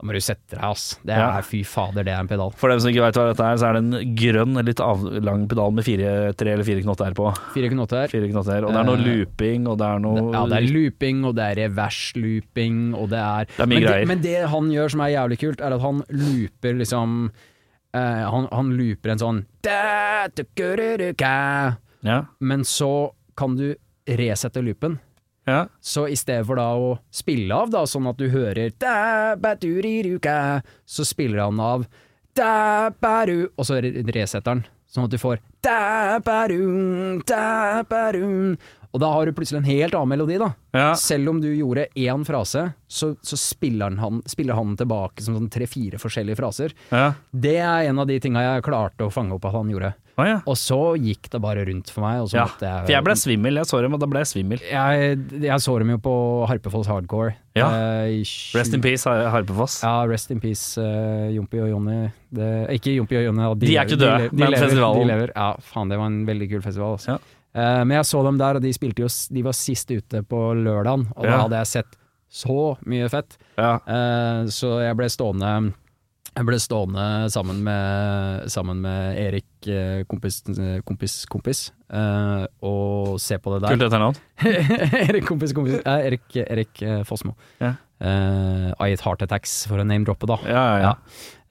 Speaker 2: Da må du sette deg, ass. Det er
Speaker 1: Ja.
Speaker 2: fy fader, det er en pedal.
Speaker 1: For dem som ikke veit hva dette er, så er det en grønn, litt avlang pedal med fire, tre eller fire knotter på.
Speaker 2: Fire knotter.
Speaker 1: Fire knotter, og det er noe
Speaker 2: Eh,
Speaker 1: looping, og det er noe
Speaker 2: Ja, det er looping, og det er revers-looping, og det er
Speaker 1: er mye
Speaker 2: men,
Speaker 1: greier.
Speaker 2: det, men det han gjør som er jævlig kult, er at han looper liksom eh, han, han looper en sånn da, tukururuka,
Speaker 1: Ja,
Speaker 2: Men så kan du resette loopen.
Speaker 1: ja.
Speaker 2: Så i stedet for da å spille av, da, sånn at du hører da, baturiruka, så spiller han av da, baru, og så re- resetter han. Sånn at du får da, barun, da, barun. Og da har du plutselig en helt annen melodi, da.
Speaker 1: ja.
Speaker 2: Selv om du gjorde én frase, så, så spiller, han- han, spiller han tilbake som sånn tre-fire forskjellige fraser.
Speaker 1: ja.
Speaker 2: Det er en av de tinga jeg klarte å fange opp at han gjorde.
Speaker 1: Å, ja.
Speaker 2: Og så gikk det bare rundt for meg. Og så
Speaker 1: ja.
Speaker 2: måtte jeg,
Speaker 1: For jeg ble svimmel, jeg så dem, og da ble jeg svimmel.
Speaker 2: jeg, jeg så dem jo på Harpefolds Hardcore.
Speaker 1: Ja.
Speaker 2: eh, i
Speaker 1: Rest in
Speaker 2: 20
Speaker 1: peace, Har- Harpefoss.
Speaker 2: Ja, Rest in peace, eh, Jompi og Jonny. Det- Ikke Jompi og Jonny, da,
Speaker 1: De er ikke døde,
Speaker 2: le-
Speaker 1: men
Speaker 2: lever,
Speaker 1: festivalen.
Speaker 2: De lever. Ja, faen, det var en veldig kul festival. Altså.
Speaker 1: Ja.
Speaker 2: Eh, men jeg så dem der, og de, spilte jo, s- de var sist ute på lørdagen, og da
Speaker 1: Ja.
Speaker 2: hadde jeg sett så mye fett.
Speaker 1: Ja.
Speaker 2: Eh, så jeg ble stående jeg ble stående sammen med, sammen med Erik, eh, kompis, kompis, kompis, eh, og se på det der.
Speaker 1: Kult etternavn.
Speaker 2: Erik kompis, kompis eh, Erik, Erik eh, Fossmo.
Speaker 1: Ja.
Speaker 2: Eh, I et heart attacks, for å name-droppe, da.
Speaker 1: Ja, ja, ja.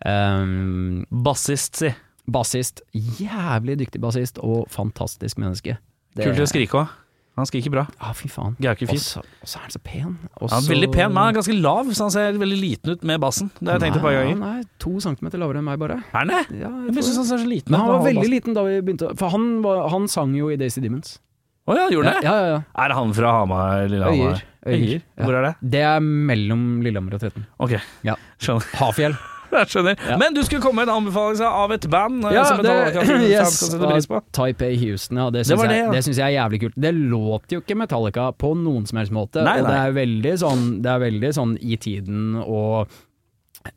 Speaker 2: Ja. Um,
Speaker 1: Bassist, si.
Speaker 2: bassist. Jævlig dyktig bassist, og fantastisk menneske. Det-
Speaker 1: Kult til å skrike òg. Han skriker bra.
Speaker 2: Ja, fy faen.
Speaker 1: Gauke
Speaker 2: Og
Speaker 1: fint.
Speaker 2: så og så er han så pen. Og
Speaker 1: Han er
Speaker 2: så-
Speaker 1: veldig pen, men han er ganske lav, så han ser veldig liten ut med bassen. Det har jeg tenkt et par
Speaker 2: Nei,
Speaker 1: ganger.
Speaker 2: Han er to centimeter lavere enn meg, bare.
Speaker 1: Er han det?
Speaker 2: Ja, jeg
Speaker 1: Jeg
Speaker 2: tror
Speaker 1: synes
Speaker 2: det.
Speaker 1: han ser så liten ut.
Speaker 2: men han var
Speaker 1: når
Speaker 2: veldig
Speaker 1: bassen.
Speaker 2: liten da vi begynte For han, var, han sang jo i Daisy Demons.
Speaker 1: Å ja, gjorde
Speaker 2: Ja,
Speaker 1: han det?
Speaker 2: ja, ja, ja.
Speaker 1: Er han fra Hamar, Lillehammer?
Speaker 2: Øyer. Øyer.
Speaker 1: Øyer.
Speaker 2: Ja.
Speaker 1: Hvor er det?
Speaker 2: Det er mellom Lillehammer og Tretten.
Speaker 1: Ok,
Speaker 2: Ja.
Speaker 1: skjønner.
Speaker 2: Hafjell.
Speaker 1: Jeg skjønner. Men du skulle komme med en anbefaling av et band eh,
Speaker 2: Ja,
Speaker 1: som
Speaker 2: det-
Speaker 1: Metallica kan
Speaker 2: yes,
Speaker 1: sette pris på.
Speaker 2: Taipei Houston, ja. Det
Speaker 1: Det
Speaker 2: syns
Speaker 1: var det,
Speaker 2: jeg,
Speaker 1: ja.
Speaker 2: det synes jeg er jævlig kult. Det låter jo ikke Metallica på noen som helst måte,
Speaker 1: Nei,
Speaker 2: og det
Speaker 1: nei.
Speaker 2: er veldig sånn, det er veldig sånn i tiden og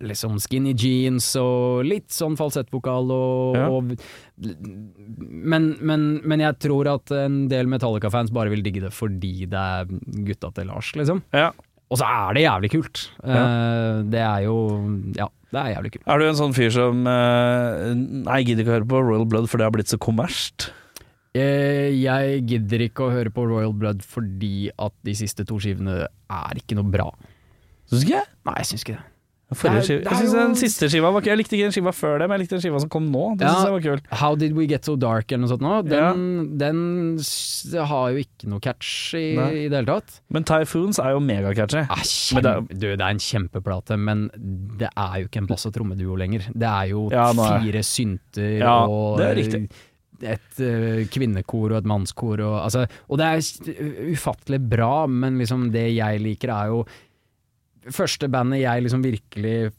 Speaker 2: liksom skinny jeans og litt sånn falsettvokal og,
Speaker 1: Ja.
Speaker 2: og men, men, men jeg tror at en del Metallica-fans bare vil digge det fordi det er gutta til Lars, liksom.
Speaker 1: Ja.
Speaker 2: Og så er det jævlig kult. Eh, det er jo Ja, det er jævlig kult.
Speaker 1: Er du en sånn fyr som eh, Nei, jeg gidder ikke å høre på Royal Blood, for det har blitt så kommersielt.
Speaker 2: Eh, jeg gidder ikke å høre på Royal Blood fordi at de siste to skivene er ikke noe bra.
Speaker 1: Syns ikke jeg?
Speaker 2: Nei, jeg syns ikke det.
Speaker 1: Forrige
Speaker 2: Det er-
Speaker 1: skive.
Speaker 2: det er
Speaker 1: Jeg synes
Speaker 2: jo-
Speaker 1: den siste skiva var kul. Jeg likte ikke den skiva før det, men jeg likte den skiva som kom nå. Det
Speaker 2: Ja.
Speaker 1: synes jeg var kul.
Speaker 2: How Did We Get So Dark eller noe sånt nå, den,
Speaker 1: Ja.
Speaker 2: den s- har jo ikke noe catch i,
Speaker 1: Nei.
Speaker 2: i det hele tatt.
Speaker 1: Men Typhoons er jo megacatchy.
Speaker 2: Ah,
Speaker 1: Men
Speaker 2: kjempe,
Speaker 1: det
Speaker 2: du, det er en kjempeplate, men det er jo ikke en bass- og trommeduo lenger. Det er jo
Speaker 1: Ja, nå er-
Speaker 2: fire synter
Speaker 1: Ja,
Speaker 2: og
Speaker 1: det er riktig.
Speaker 2: et eh, kvinnekor og et mannskor. Og, altså, og det er s- ufattelig bra, men liksom det jeg liker er jo Første bandet jeg liksom virkelig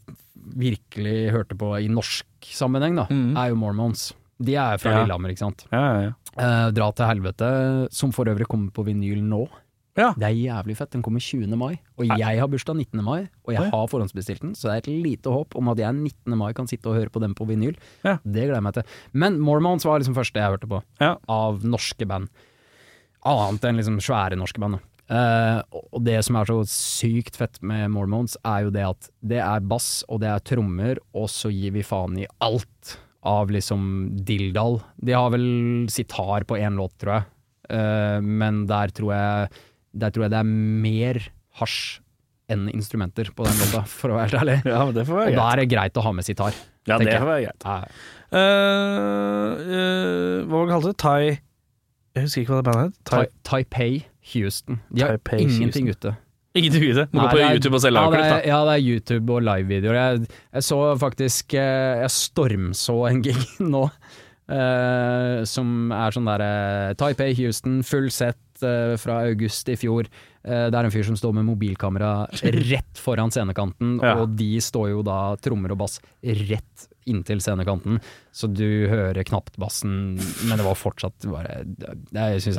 Speaker 2: Virkelig hørte på i norsk sammenheng, da,
Speaker 1: Mm.
Speaker 2: er jo Mormons. De er fra
Speaker 1: Ja.
Speaker 2: Lillehammer, ikke sant.
Speaker 1: Ja, ja, ja.
Speaker 2: Eh, Dra til helvete, som for øvrig kommer på vinyl nå.
Speaker 1: Ja.
Speaker 2: Det er jævlig fett. Den kommer 20. mai, og jeg har bursdag 19. mai, og jeg
Speaker 1: Oi.
Speaker 2: har forhåndsbestilt den, så det er et lite håp om at jeg 19. mai kan sitte og høre på den på vinyl.
Speaker 1: Ja.
Speaker 2: Det gleder jeg meg til. Men Mormons var liksom første jeg hørte på,
Speaker 1: Ja.
Speaker 2: av norske band. Annet enn liksom svære norske band. da. Eh, og det som er så sykt fett med Mormons, er jo det at det er bass, og det er trommer, og så gir vi faen i alt av liksom dilldall. De har vel sitar på én låt, tror jeg, Eh, men der tror jeg, der tror jeg det er mer hasj enn instrumenter på den låta, for å være helt ærlig.
Speaker 1: ja, men det får
Speaker 2: Og
Speaker 1: være
Speaker 2: da
Speaker 1: greit.
Speaker 2: er det greit å ha med sitar.
Speaker 1: Ja,
Speaker 2: tenker
Speaker 1: det
Speaker 2: jeg.
Speaker 1: får være greit.
Speaker 2: Eh,
Speaker 1: Eh, eh, hva var det kalt? Thai Jeg husker ikke hva det bandet het.
Speaker 2: Tai
Speaker 1: Thai
Speaker 2: Taipei Houston. De har
Speaker 1: Taipei,
Speaker 2: ingenting
Speaker 1: Houston.
Speaker 2: ute.
Speaker 1: Ingenting i det. Må
Speaker 2: Nei,
Speaker 1: gå på
Speaker 2: det er-
Speaker 1: YouTube og se
Speaker 2: ja, det
Speaker 1: liveklipp,
Speaker 2: er- Ja, det er YouTube og livevideoer. Jeg, jeg så faktisk eh, Jeg stormså en gig nå, eh, som er sånn derre Taipei, Houston, full sett eh, fra august i fjor. Eh, det er en fyr som står med mobilkamera rett foran scenekanten,
Speaker 1: Ja.
Speaker 2: og de står jo da trommer og bass rett inntil scenekanten, så du hører knapt bassen, men det var fortsatt bare det- Jeg syns det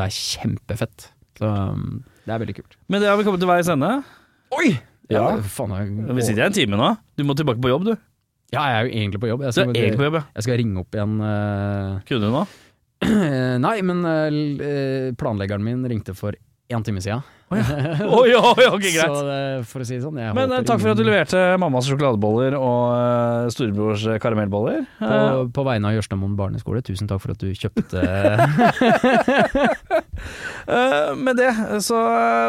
Speaker 2: er kjempefett. Så um, det er veldig kult.
Speaker 1: da. Men det har vi kommet til veis ende.
Speaker 2: Oi!
Speaker 1: Ja.
Speaker 2: faen,
Speaker 1: Vi
Speaker 2: jeg,
Speaker 1: sitter i en time nå. Du må tilbake på jobb, du.
Speaker 2: Ja, jeg er jo egentlig på jobb.
Speaker 1: Du
Speaker 2: Jeg skal,
Speaker 1: er egentlig på jobb, ja.
Speaker 2: jeg skal ringe opp igjen eh,
Speaker 1: Kunne du nå?
Speaker 2: Nei, men eh, l- eh, planleggeren min ringte for én time siden.
Speaker 1: Oi, oi, ok, greit.
Speaker 2: Så eh, for å si det sånn jeg
Speaker 1: Men eh,
Speaker 2: håper
Speaker 1: takk for at du
Speaker 2: ingen-
Speaker 1: leverte mammas sjokoladeboller og eh, storebrors eh, karamellboller.
Speaker 2: På,
Speaker 1: Eh,
Speaker 2: på vegne av Jørstadmoen barneskole, tusen takk for at du kjøpte
Speaker 1: eh, med det så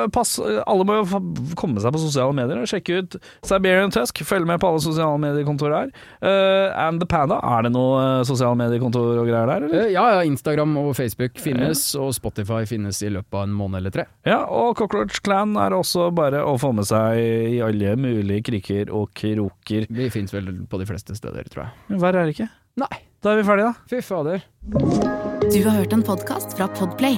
Speaker 1: eh, pass Alle må jo fa- komme seg på sosiale medier og sjekke ut Siberian Tusk. Følg med på alle sosiale mediekontorer her. Eh, and The Panda, er det noe eh, sosiale mediekontor og greier der, eller?
Speaker 2: Eh, Ja, ja, Instagram og Facebook finnes, og Spotify finnes i løpet av en måned eller tre.
Speaker 1: Ja, og Cockroach Clan er det også bare å få med seg i alle mulige kriker og kroker.
Speaker 2: Vi finnes vel på de fleste steder, tror jeg.
Speaker 1: Men Verre er det ikke.
Speaker 2: Nei,
Speaker 1: Da er vi ferdige, da.
Speaker 2: fy fader.
Speaker 4: Du har hørt en podcast fra Podplay.